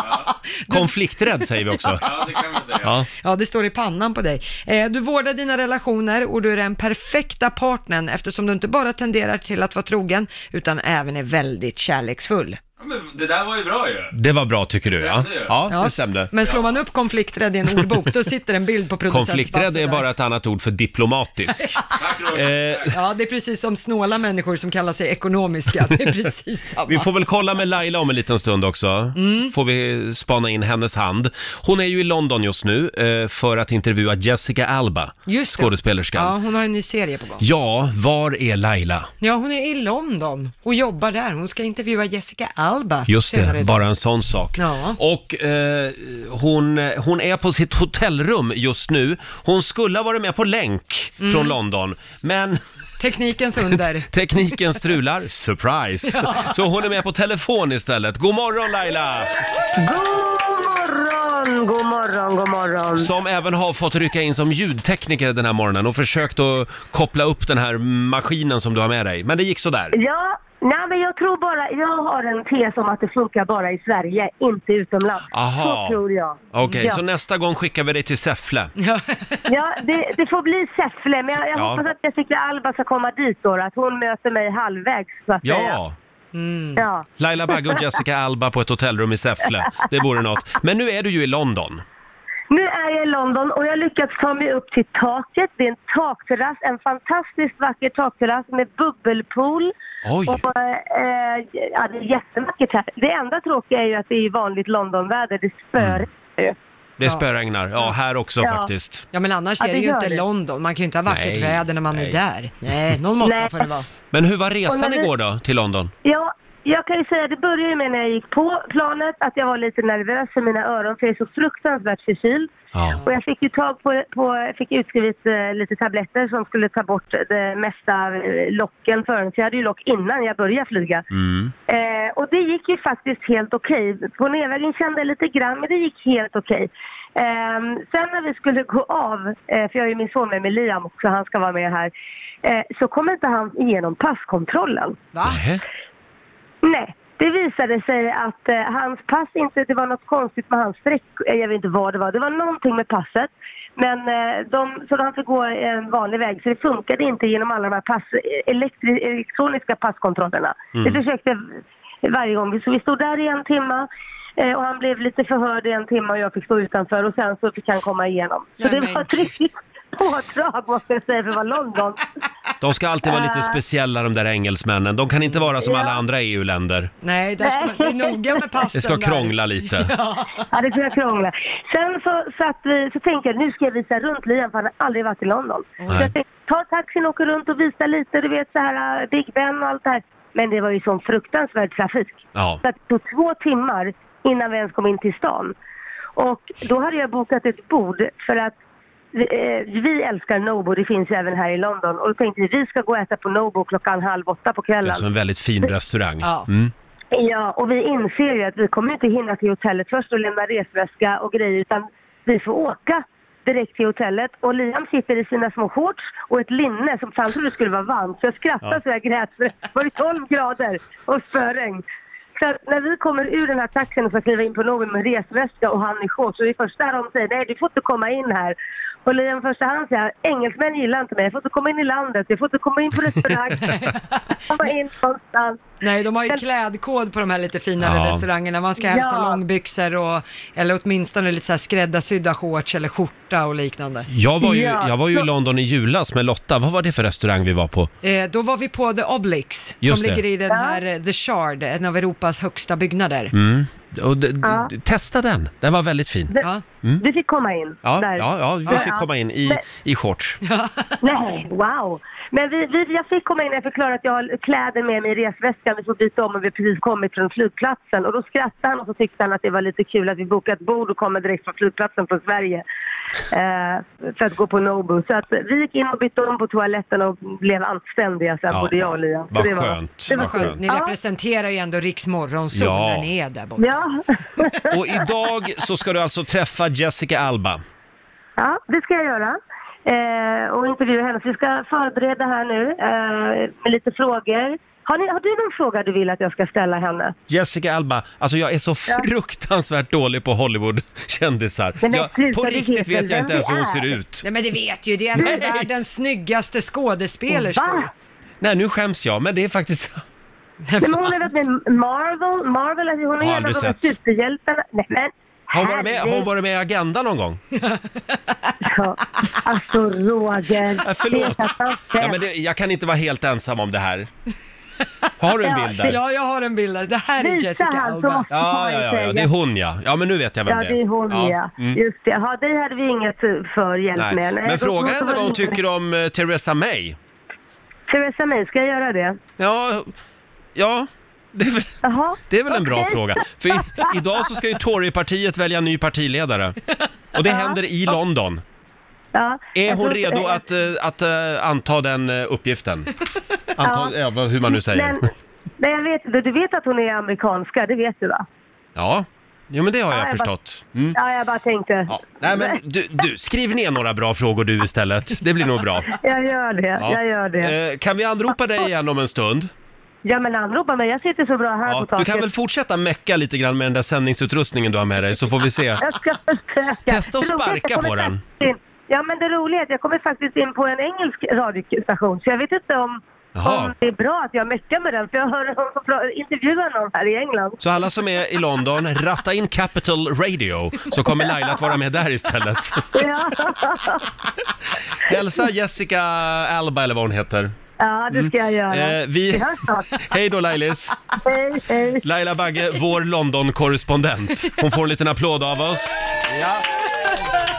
Speaker 1: Konflikträdd säger vi också.
Speaker 4: Ja, det kan man säga.
Speaker 1: Ja.
Speaker 2: Ja, det står i pannan på dig. Eh, Du vårdar dina relationer och du är den perfekta partnern eftersom du inte bara tenderar till att vara trogen utan även är väldigt kärleksfull.
Speaker 4: Ja, men det där var ju bra ju.
Speaker 1: Det var bra tycker du ja.
Speaker 4: stämde ju.
Speaker 1: Ja, det stämde.
Speaker 2: Men slår man upp konflikträdd i en ordbok, då sitter en bild på producent
Speaker 1: Konflikträdd
Speaker 2: Basse
Speaker 1: är
Speaker 2: där.
Speaker 1: bara ett annat ord för diplomatisk.
Speaker 4: Tack Roger.
Speaker 1: Eh,
Speaker 2: Ja, det är precis som snåla människor som kallar sig ekonomiska. Det är precis samma.
Speaker 1: Vi får väl kolla med Laila om en liten stund också.
Speaker 2: Mm.
Speaker 1: Får vi spana in hennes hand. Hon är ju i London just nu eh, för att intervjua Jessica Alba,
Speaker 2: Just det.
Speaker 1: skådespelerskan.
Speaker 2: Ja,
Speaker 1: Ja.
Speaker 2: hon har en ny serie på gång.
Speaker 1: var är Laila?
Speaker 2: Ja, hon är i London och jobbar där. Hon ska intervjua Jessica Alba.
Speaker 1: Just
Speaker 2: senare
Speaker 1: det,
Speaker 2: idag.
Speaker 1: bara en sån sak.
Speaker 2: Ja.
Speaker 1: Och eh, hon, hon är på sitt hotellrum just nu. Hon skulle ha varit med på länk från London, men
Speaker 2: Teknikens under.
Speaker 1: tekniken strular. Surprise! Så hon är med på telefon istället. God morgon Laila!
Speaker 8: morgon, Mm, god morgon, god morgon.
Speaker 1: Som även har fått rycka in som ljudtekniker den här morgonen och försökt att koppla upp den här maskinen som du har med dig. Men det gick sådär.
Speaker 8: Ja, nej men jag tror bara, jag har en tes om att det funkar bara i Sverige, inte utomlands.
Speaker 1: Aha.
Speaker 8: Så tror jag.
Speaker 1: Okej,
Speaker 8: ja.
Speaker 1: så nästa gång skickar vi dig till Säffle.
Speaker 8: Ja, det, det får bli Säffle, men jag, jag
Speaker 1: Ja.
Speaker 8: hoppas att Jessica Alba ska komma dit då, att hon möter mig halvvägs så att säga.
Speaker 1: Ja, Mm.
Speaker 8: Ja.
Speaker 1: Laila Bagge och Jessica Alba på ett hotellrum i Säffle. Det vore något. Men nu är du ju i London.
Speaker 8: Nu är jag i London och jag har lyckats ta mig upp till taket. Det är en takterrass, en fantastiskt vacker takterrass med bubbelpool.
Speaker 1: Oj.
Speaker 8: Och, eh, ja, det är jättevackert här. Det enda tråkiga är ju att det är vanligt Londonväder, det spöregnar ju.
Speaker 1: Det spöregnar. Ja, här också
Speaker 8: Ja.
Speaker 1: faktiskt.
Speaker 2: Ja, men annars
Speaker 8: Ja,
Speaker 2: är det
Speaker 8: det
Speaker 2: ju
Speaker 8: gör
Speaker 2: inte
Speaker 8: det.
Speaker 2: London. Man kan ju inte ha vackert
Speaker 1: Nej,
Speaker 2: väder när man
Speaker 1: nej.
Speaker 2: är där. Nej, någon måtta
Speaker 8: Nej.
Speaker 2: får det vara.
Speaker 1: Men hur var
Speaker 8: Och
Speaker 1: resan
Speaker 8: när vi-
Speaker 1: igår då, till London?
Speaker 8: Ja, jag kan ju säga, det började ju med när jag gick på planet att jag var lite nervös för mina öron för jag är så fruktansvärt förkyld.
Speaker 1: Ja.
Speaker 8: Och jag fick ju tag på, på fick utskrivet eh, lite tabletter som skulle ta bort det mesta av eh, locken för den. För jag hade ju lock innan jag började flyga.
Speaker 1: Mm.
Speaker 8: Eh, och det gick ju faktiskt helt okej. På nedvägen kände jag lite grann, men det gick helt okej. Ehm, sen när vi skulle gå av, eh, för jag har ju min son med mig, Liam också, han ska vara med här. Eh, så kom inte han igenom passkontrollen.
Speaker 2: Va?
Speaker 1: Nähä.
Speaker 8: Nej, det visade sig att eh, hans pass inte, det var något konstigt med hans streck, eh, jag vet inte vad det var, det var någonting med passet. Men eh, de, så han fick gå en vanlig väg, så det funkade inte genom alla de här pass, eh, elektri, elektroniska passkontrollerna. Vi försökte varje gång, så vi stod där i en timma eh, och han blev lite förhörd i en timma och jag fick stå utanför och sen så fick han komma igenom. Så
Speaker 2: Nej,
Speaker 8: det
Speaker 2: men
Speaker 8: var ett riktigt pådrag måste jag säga för att vara London.
Speaker 1: De ska alltid vara
Speaker 8: Eh.
Speaker 1: lite speciella de där engelsmännen. De kan inte vara som alla andra EU-länder.
Speaker 2: Nej, där ska man, det är noga med passen
Speaker 1: Det ska
Speaker 2: där.
Speaker 1: krångla lite.
Speaker 8: Ja, det tror jag krånglar. Sen så, satt vi, så tänkte jag nu ska jag visa runt Liam för han har aldrig varit i London. Så jag tänkte, ta taxin, åka runt och visa lite, du vet så här äh, Big Ben och allt det här. Men det var ju sån fruktansvärd trafik.
Speaker 1: Ja.
Speaker 8: Så att det tog två timmar innan vi ens kom in till stan. Och då hade jag bokat ett bord för att vi, eh, vi älskar Nobo, det finns ju även här i London. Och då tänkte vi, vi ska gå och äta på Nobo klockan halv åtta på
Speaker 1: Det är
Speaker 8: kvällen.
Speaker 1: alltså en väldigt fin restaurang.
Speaker 2: Ja.
Speaker 1: Mm.
Speaker 8: Ja, och vi inser ju att vi kommer inte hinna till hotellet först och lämna resväska och grejer utan vi får åka direkt till hotellet. Och Liam sitter i sina små shorts och ett linne som han trodde skulle vara varmt. Så jag skrattade
Speaker 1: Ja.
Speaker 8: så jag grät för det var ju 12 grader och spöregn. Så att när vi kommer ur den här taxin och ska kliva in på någon med resväska och han i shorts så det är första de säger nej du får inte komma in här. Och Liam första han säger engelsmän gillar inte mig, jag får inte komma in i landet, jag får inte komma in på restaurang, komma in någonstans.
Speaker 2: Nej, de har ju klädkod på de här lite finare
Speaker 1: Ja.
Speaker 2: restaurangerna. Man ska helst ha
Speaker 8: Ja.
Speaker 2: långbyxor och, eller åtminstone lite så här skräddarsydda shorts eller skjorta och liknande.
Speaker 1: Jag var, ju,
Speaker 8: Ja,
Speaker 1: jag var ju i
Speaker 8: så-
Speaker 1: London i julas med Lotta. Vad var det för restaurang vi var på?
Speaker 2: Eh, då var vi på The Obelix,
Speaker 1: Just
Speaker 2: som
Speaker 1: det.
Speaker 2: ligger i den här eh, The Shard, en av Europas högsta byggnader.
Speaker 6: Mm.
Speaker 1: Och d- d-
Speaker 8: Ja.
Speaker 1: d- Testa den, den var väldigt fin.
Speaker 2: Ja.
Speaker 8: Du fick komma in.
Speaker 1: Mm. Ja,
Speaker 8: där.
Speaker 1: ja, ja vi fick
Speaker 8: Ja.
Speaker 1: komma in i, i shorts.
Speaker 8: Nej, wow. Men vi, vi, jag fick komma in och förklara att jag har kläder med mig i resväskan. Vi får byta om och vi har precis kommit från flygplatsen. Och då skrattade han och så tyckte han att det var lite kul att vi bokat bord och kommer direkt från flygplatsen från Sverige. Eh, för att gå på Nobu. Så att vi gick in och bytte om på toaletten och blev anständiga sen,
Speaker 1: Ja.
Speaker 8: både jag och Liam. Så
Speaker 1: Vad
Speaker 8: det var-
Speaker 1: skönt,
Speaker 8: Det var
Speaker 1: vad
Speaker 8: skönt.
Speaker 1: skönt.
Speaker 2: Ni
Speaker 8: Ja.
Speaker 2: representerar ju ändå Riks Morgonzoo
Speaker 1: Ja.
Speaker 2: när ni är där borta.
Speaker 8: Ja.
Speaker 1: Och idag så ska du alltså träffa Jessica Alba.
Speaker 8: Ja, det ska jag göra. Eh, och intervjua henne. Så vi ska förbereda här nu eh, med lite frågor. Har, ni, har du någon fråga du vill att jag ska ställa henne?
Speaker 1: Jessica Alba, alltså jag är så fruktansvärt dålig på Hollywood-kändisar.
Speaker 8: Men
Speaker 1: Jag-
Speaker 8: sluta,
Speaker 1: På
Speaker 8: du
Speaker 1: riktigt vet
Speaker 8: vet väl
Speaker 1: jag
Speaker 8: vem
Speaker 1: inte ens
Speaker 8: vi
Speaker 1: hur hon
Speaker 8: är.
Speaker 1: ser ut.
Speaker 2: Nej men det vet ju, det är en av världens snyggaste skådespelerskor.
Speaker 8: Va?
Speaker 1: Nej, nu skäms jag, men det är faktiskt...
Speaker 8: Nej, men hon har varit med i Marvel, Marvel alltså hon
Speaker 1: Har
Speaker 8: är en av
Speaker 1: aldrig
Speaker 8: de här
Speaker 1: sett.
Speaker 8: superhjältarna. Nej men
Speaker 1: Har hon varit med, har hon
Speaker 8: herregud.
Speaker 1: varit med i Agenda någon gång?
Speaker 8: Alltså Roger,
Speaker 1: Ja, förlåt.
Speaker 8: det är fantastiskt.
Speaker 1: Ja, men det, jag kan inte vara helt ensam om det här. Har du en bild där?
Speaker 2: Ja, jag har en bild där. Det här är
Speaker 8: Visa
Speaker 2: Jessica
Speaker 8: han så
Speaker 2: Alba.
Speaker 8: måste
Speaker 1: Ja,
Speaker 8: man ju
Speaker 1: ja, ja, ja,
Speaker 8: säga.
Speaker 1: det är hon ja. Ja, men nu vet jag vem
Speaker 8: Ja, det är hon ja.
Speaker 1: Mm.
Speaker 8: Just det. Ja, det hade vi inget för hjälp
Speaker 1: Nej.
Speaker 8: med.
Speaker 1: Men
Speaker 8: då
Speaker 1: fråga
Speaker 8: måste
Speaker 1: henne
Speaker 8: man
Speaker 1: vad hon
Speaker 8: ju-
Speaker 1: tycker om eh, Theresa May.
Speaker 8: Theresa May, ska jag göra det?
Speaker 1: Ja, ja det är väl,
Speaker 8: Jaha.
Speaker 1: det är väl en bra
Speaker 8: Okej.
Speaker 1: fråga. För i, idag så ska ju Torypartiet välja ny partiledare. Och det händer i London.
Speaker 8: Ja.
Speaker 1: Är
Speaker 8: Jag
Speaker 1: hon
Speaker 8: tror-
Speaker 1: redo
Speaker 8: eh,
Speaker 1: att, eh, att eh, anta den eh, uppgiften? Anta, ja. vad- hur man nu säger.
Speaker 8: Men, nej, jag vet inte. Du vet att hon är amerikanska, det vet du va?
Speaker 1: Ja, jo, men det har
Speaker 8: Ja,
Speaker 1: jag
Speaker 8: jag bara-
Speaker 1: förstått. Mm.
Speaker 8: Ja, jag bara tänkte.
Speaker 1: Ja. Nej, men du, du, skriv ner några bra frågor du istället. Det blir nog bra.
Speaker 8: Jag gör det,
Speaker 1: Ja.
Speaker 8: jag gör det.
Speaker 1: Eh, Kan vi anropa dig igen om en stund?
Speaker 8: Ja, men anropa mig. Jag sitter så bra här på
Speaker 1: Ja, du
Speaker 8: taket.
Speaker 1: kan väl fortsätta mecka lite grann med den där sändningsutrustningen du har med dig så får vi se.
Speaker 8: Jag ska försöka.
Speaker 1: Testa att
Speaker 8: Det roliga är
Speaker 1: sparka
Speaker 8: jag
Speaker 1: på
Speaker 8: kommer
Speaker 1: den.
Speaker 8: faktiskt in- Ja, men det roliga är att jag kommer faktiskt in på en engelsk radiostation, så jag vet inte om,
Speaker 1: Jaha.
Speaker 8: om det är bra att jag meckar med den, för jag hörde någon som pra- intervjuade någon här i England.
Speaker 1: Så alla som är i London, ratta in Capital Radio så kommer Laila att vara med där istället.
Speaker 8: Ja,
Speaker 1: Hälsa Jessica Alba eller vad hon heter.
Speaker 8: ja det ska jag göra.
Speaker 1: Eh, vi...
Speaker 8: Vi hörs snart.
Speaker 1: Hej då Lailis!
Speaker 8: Hej, hej.
Speaker 1: Laila Bagge, vår London-korrespondent. Hon får en liten applåd av oss. Ja.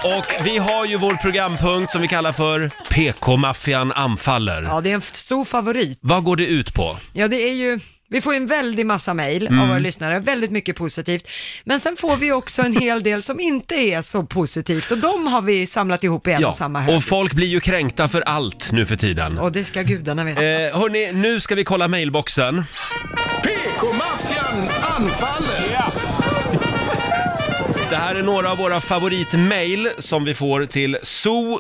Speaker 1: Och vi har ju vår programpunkt som vi kallar för PK-maffian anfaller.
Speaker 2: Ja, det är en f- stor favorit.
Speaker 1: Vad går det ut på?
Speaker 2: Ja, det är ju... Vi får ju en väldig massa mejl av
Speaker 1: Mm.
Speaker 2: våra lyssnare, väldigt mycket positivt. Men sen får vi också en hel del som inte är så positivt och de har vi samlat ihop i en och samma hög.
Speaker 1: och folk blir ju kränkta för allt nu för tiden.
Speaker 2: Och det ska gudarna veta.
Speaker 1: Eh, hörni, nu ska vi kolla mailboxen.
Speaker 3: PK-maffian anfaller!
Speaker 1: Det här är några av våra favoritmail som vi får till so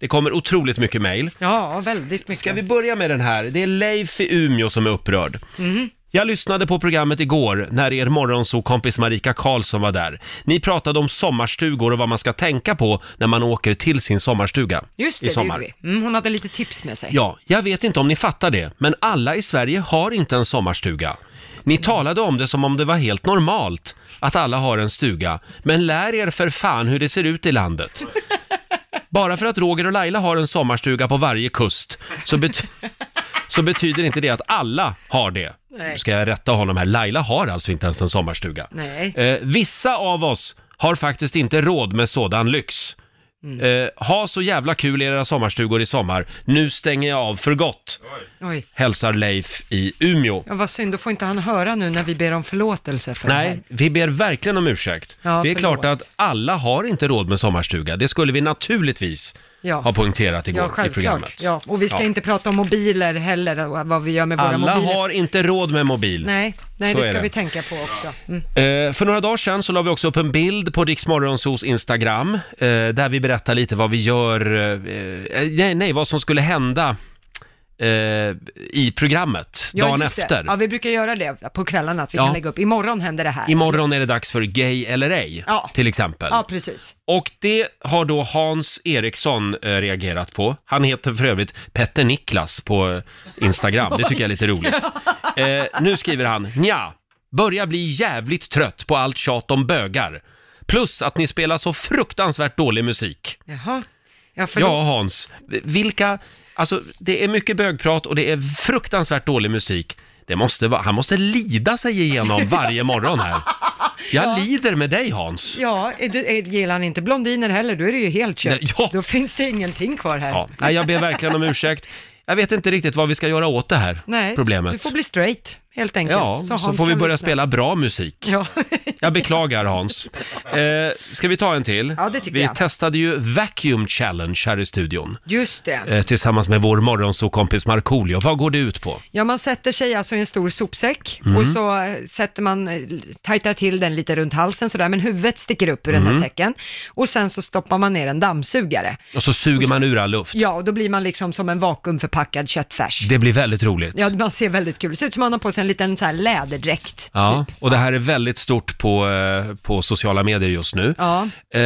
Speaker 1: Det kommer otroligt mycket mail.
Speaker 2: Ja, väldigt mycket.
Speaker 1: Eh, Ska vi börja med den här? Det är Leif i Umeå som är upprörd.
Speaker 2: Mhm.
Speaker 1: Jag lyssnade på programmet igår när er morgonsokompis Marika Karlsson var där. Ni pratade om sommarstugor och vad man ska tänka på när man åker till sin sommarstuga
Speaker 2: Just
Speaker 1: i
Speaker 2: det, det
Speaker 1: sommar.
Speaker 2: gjorde vi. Mm, hon hade lite tips med sig.
Speaker 1: Ja, jag vet inte om ni fattar det, men alla i Sverige har inte en sommarstuga. Ni talade om det som om det var helt normalt att alla har en stuga, men lär er för fan hur det ser ut i landet. Bara för att Roger och Laila har en sommarstuga på varje kust så, bet- så betyder inte det att alla har det.
Speaker 2: Nej.
Speaker 1: Nu ska jag rätta honom här. Laila har alltså inte ens en sommarstuga.
Speaker 2: Nej.
Speaker 1: Eh, vissa av oss har faktiskt inte råd med sådan lyx.
Speaker 2: Mm.
Speaker 1: Eh, ha så jävla kul i era sommarstugor i sommar. Nu stänger jag av för gott,
Speaker 2: Oj.
Speaker 1: hälsar Leif i Umeå.
Speaker 2: Ja, vad synd, då får inte han höra nu när vi ber om förlåtelse för det
Speaker 1: Nej,
Speaker 2: här.
Speaker 1: vi ber verkligen om ursäkt.
Speaker 2: Ja,
Speaker 1: det är
Speaker 2: förlåt.
Speaker 1: klart att alla har inte råd med sommarstuga. Det skulle vi naturligtvis
Speaker 2: Ja.
Speaker 1: ha poängterat
Speaker 2: Ja,
Speaker 1: igår i
Speaker 2: självklart.
Speaker 1: programmet.
Speaker 2: Ja, och vi ska
Speaker 1: Ja.
Speaker 2: inte prata om mobiler heller, och vad vi gör med våra
Speaker 1: Alla
Speaker 2: mobiler.
Speaker 1: har inte råd med mobil.
Speaker 2: Nej, nej
Speaker 1: Så
Speaker 2: det
Speaker 1: är
Speaker 2: ska
Speaker 1: det.
Speaker 2: vi tänka på också. Mm.
Speaker 1: Eh, för några dagar sedan så la vi också upp en bild på Riksmorgonsos Instagram eh, där vi berättar lite vad vi gör, eh, eh, nej, nej, vad som skulle hända eh, i programmet
Speaker 2: Ja,
Speaker 1: dagen
Speaker 2: just det.
Speaker 1: efter.
Speaker 2: Ja, vi brukar göra det på kvällarna, att vi
Speaker 1: Ja.
Speaker 2: kan lägga upp. Imorgon händer det här.
Speaker 1: Imorgon är det dags för Gay eller ej,
Speaker 2: Ja.
Speaker 1: till exempel.
Speaker 2: ja, precis.
Speaker 1: Och det har då Hans Eriksson eh, reagerat på. Han heter för övrigt Petter Niklas på eh, Instagram. Det tycker jag är lite roligt. Eh, nu skriver han, Nja, börjar bli jävligt trött på allt tjat om bögar. Plus att ni spelar så fruktansvärt dålig musik.
Speaker 2: Jaha. Ja, för
Speaker 1: Ja, Hans, vilka... Alltså, det är mycket bögprat och det är fruktansvärt dålig musik. Det måste vara, han måste lida sig igenom varje morgon här. Jag lider med dig Hans.
Speaker 2: ja är det- är- gillar han inte blondiner heller, då är det ju helt kört.
Speaker 1: Nej, ja.
Speaker 2: Då finns det ingenting kvar här.
Speaker 1: Ja, nej, jag ber verkligen om ursäkt. Jag vet inte riktigt vad vi ska göra åt det här
Speaker 2: Nej,
Speaker 1: problemet.
Speaker 2: du får bli straight, helt enkelt.
Speaker 1: ja, så,
Speaker 2: Hans
Speaker 1: får vi
Speaker 2: kan
Speaker 1: börja
Speaker 2: lyssna.
Speaker 1: spela bra musik.
Speaker 2: Ja.
Speaker 1: Jag beklagar Hans. Eh, ska vi ta en till?
Speaker 2: Ja, det tycker
Speaker 1: vi
Speaker 2: jag.
Speaker 1: testade ju Vacuum Challenge här i studion.
Speaker 2: Just det.
Speaker 1: Eh, tillsammans med vår morgonsåkompis Markoolio. Vad går det ut på?
Speaker 2: Ja, man sätter sig alltså i en stor sopsäck
Speaker 1: Mm.
Speaker 2: och så eh, sätter man, eh, tajtar till den lite runt halsen sådär, men huvudet sticker upp ur den
Speaker 1: Mm.
Speaker 2: här säcken. Och sen så stoppar man ner en dammsugare.
Speaker 1: Och så suger man ur all luft.
Speaker 2: Ja, och då blir man liksom som en vakuumförpackad köttfärs.
Speaker 1: Det blir väldigt roligt.
Speaker 2: Ja, man ser väldigt kul. Det ser ut som man har på sig en en liten så här läderdräkt.
Speaker 1: Ja, och det här är väldigt stort på, eh, på sociala medier just nu.
Speaker 2: Ja.
Speaker 1: Eh,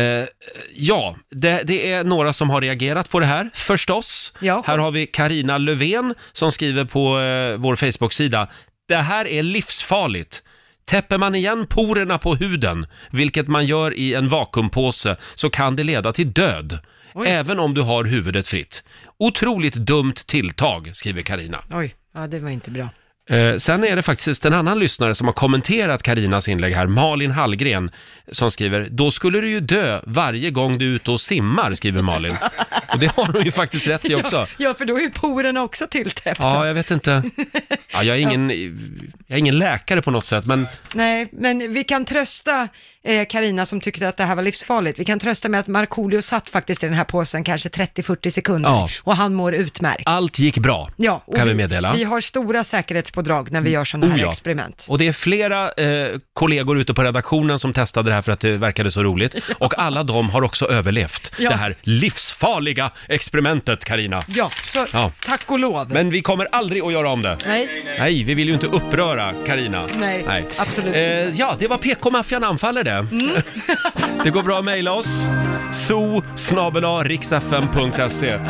Speaker 1: ja, det, det är några som har reagerat på det här, förstås.
Speaker 2: Ja.
Speaker 1: Här har vi Karina Löfven som skriver på eh, vår Facebook-sida. Det här är livsfarligt. Täpper man igen porerna på huden, vilket man gör i en vakuumpåse, så kan det leda till död. Även om du har huvudet fritt. Otroligt dumt tilltag, skriver Karina.
Speaker 2: Oj, ja det var inte bra.
Speaker 1: Eh, sen är det faktiskt en annan lyssnare som har kommenterat Karinas inlägg här, Malin Hallgren, som skriver “Då skulle du ju dö varje gång du är ute och simmar”, skriver Malin. Och det har hon ju faktiskt rätt i också.
Speaker 2: Ja, för då är ju porerna också tilltäppta.
Speaker 1: Ja, jag vet inte. Ja, jag, är ingen, jag är ingen läkare på något sätt, men
Speaker 2: Nej, men vi kan trösta eh, Karina som tyckte att det här var livsfarligt. Vi kan trösta med att Markoolio satt faktiskt i den här påsen kanske 30-40 sekunder
Speaker 1: Ja.
Speaker 2: och han mår utmärkt.
Speaker 1: allt gick bra,
Speaker 2: Ja, och
Speaker 1: kan vi meddela.
Speaker 2: Vi har stora säkerhetspådrag när vi gör sådana här
Speaker 1: Oh ja.
Speaker 2: experiment.
Speaker 1: Och det är flera eh, kollegor ute på redaktionen som testade det här för att det verkade så roligt. Och alla de har också överlevt
Speaker 2: Ja.
Speaker 1: det här livsfarliga experimentet, Karina.
Speaker 2: Ja, så
Speaker 1: Ja.
Speaker 2: tack och lov.
Speaker 1: Men vi kommer aldrig att göra om det.
Speaker 2: Nej.
Speaker 1: Nej, vi vill ju inte uppröra Karina.
Speaker 2: Nej, absolut Mm.
Speaker 1: eh, Ja, det var PK-maffian anfaller det. det går bra att mejla oss. so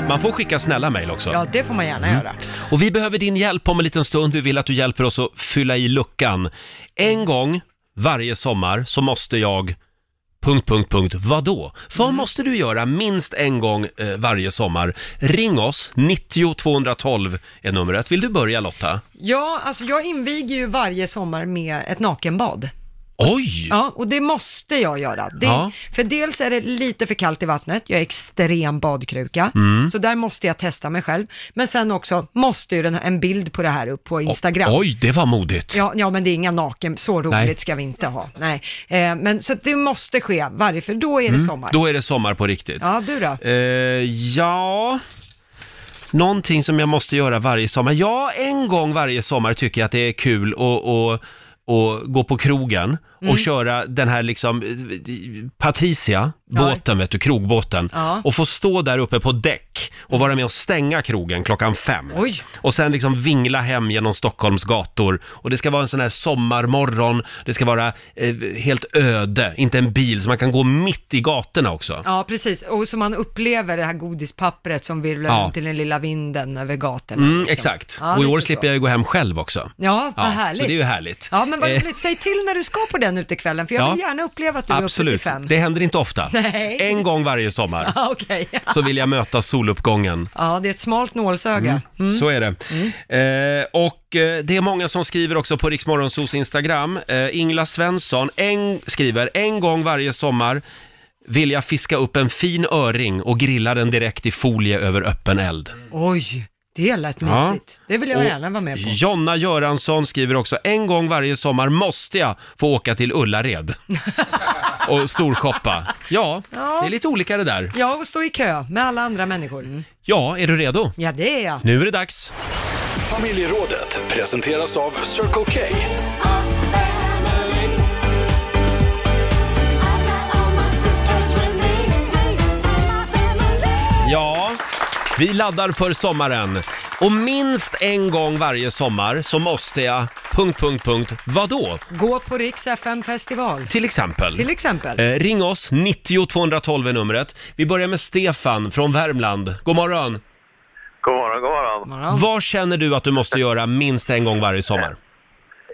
Speaker 1: Man får skicka snälla mejl också.
Speaker 2: Ja, det får man gärna göra.
Speaker 1: Och vi behöver din hjälp om en liten stund. Vi vill att du hjälper oss att fylla i luckan. En gång varje sommar så måste jag... Punkt, punkt, punkt. Vadå? Vad
Speaker 2: Mm.
Speaker 1: måste du göra minst en gång eh, varje sommar? Ring oss, 90 212 är numret. Vill du börja Lotta?
Speaker 2: Ja, alltså jag inviger ju varje sommar med ett nakenbad.
Speaker 1: Oj!
Speaker 2: Ja, och det måste jag göra. Det,
Speaker 1: Ja.
Speaker 2: För dels är det lite för kallt i vattnet, jag är extrem badkruka,
Speaker 1: Mm.
Speaker 2: så där måste jag testa mig själv. Men sen också måste ju den här, en bild på det här upp på Instagram.
Speaker 1: Oj, det var modigt.
Speaker 2: Ja, ja, men det är inga naken, så roligt
Speaker 1: Nej.
Speaker 2: ska vi inte ha. Nej. Eh, men så att det måste ske varje, för då är det sommar.
Speaker 1: Mm, Då är det sommar på riktigt.
Speaker 2: Ja, du då?
Speaker 1: Eh, ja... Någonting som jag måste göra varje sommar. Ja, en gång varje sommar tycker jag att det är kul att, att, att gå på krogen och
Speaker 2: Mm.
Speaker 1: köra den här liksom eh, Patricia, båten vet du, krogbåten.
Speaker 2: Ja.
Speaker 1: Och få stå där uppe på däck och vara med och stänga krogen klockan fem.
Speaker 2: Oj.
Speaker 1: Och sen liksom vingla hem genom Stockholms gator. Och det ska vara en sån här sommarmorgon, det ska vara eh, helt öde, inte en bil, så man kan gå mitt i gatorna också.
Speaker 2: Ja, precis. Och så man upplever det här godispappret som virvlar
Speaker 1: Ja.
Speaker 2: runt i den lilla vinden över gatorna.
Speaker 1: Mm,
Speaker 2: liksom.
Speaker 1: exakt.
Speaker 2: Ja,
Speaker 1: och i
Speaker 2: lite
Speaker 1: år
Speaker 2: så.
Speaker 1: slipper jag ju gå hem själv också.
Speaker 2: Ja, vad härligt.
Speaker 1: Så det är ju härligt.
Speaker 2: Ja, men vad
Speaker 1: Eh,
Speaker 2: roligt. Säg till när du ska på den utekvällen, för jag vill
Speaker 1: Ja.
Speaker 2: gärna uppleva att du
Speaker 1: Absolut,
Speaker 2: är uppe till fem.
Speaker 1: det händer inte ofta.
Speaker 2: Nej.
Speaker 1: En gång varje sommar
Speaker 2: Ja, okej.
Speaker 1: så vill jag möta soluppgången.
Speaker 2: Ja, det är ett smalt nålsöga.
Speaker 1: Så är det.
Speaker 2: Mm.
Speaker 1: Eh, och eh, det är många som skriver också på Riksmorgonsos Instagram. Eh, Ingla Svensson en, skriver, en gång varje sommar vill jag fiska upp en fin öring och grilla den direkt i folie över öppen eld.
Speaker 2: Oj, det lät
Speaker 1: Ja.
Speaker 2: mysigt. Det vill jag
Speaker 1: Och
Speaker 2: gärna vara med på.
Speaker 1: Jonna Göransson skriver också, en gång varje sommar måste jag få åka till Ullared och storshoppa. Ja,
Speaker 2: Ja.
Speaker 1: det är lite olika det där.
Speaker 2: Ja, och stå i kö med alla andra människor.
Speaker 1: Mm. Ja, är du redo?
Speaker 2: Ja, det är jag.
Speaker 1: Nu är det dags.
Speaker 3: Familjerådet presenteras av Circle K.
Speaker 1: Ja, vi laddar för sommaren. Och minst en gång varje sommar så måste jag... Punkt, punkt, punkt. Vadå?
Speaker 2: Gå på Riks FM-festival,
Speaker 1: Till exempel.
Speaker 2: till exempel.
Speaker 1: Eh, ring oss, 90 212 är numret. Vi börjar med Stefan från Värmland. God morgon.
Speaker 9: God morgon, god morgon.
Speaker 2: Morgon.
Speaker 1: Vad känner du att du måste göra minst en gång varje sommar?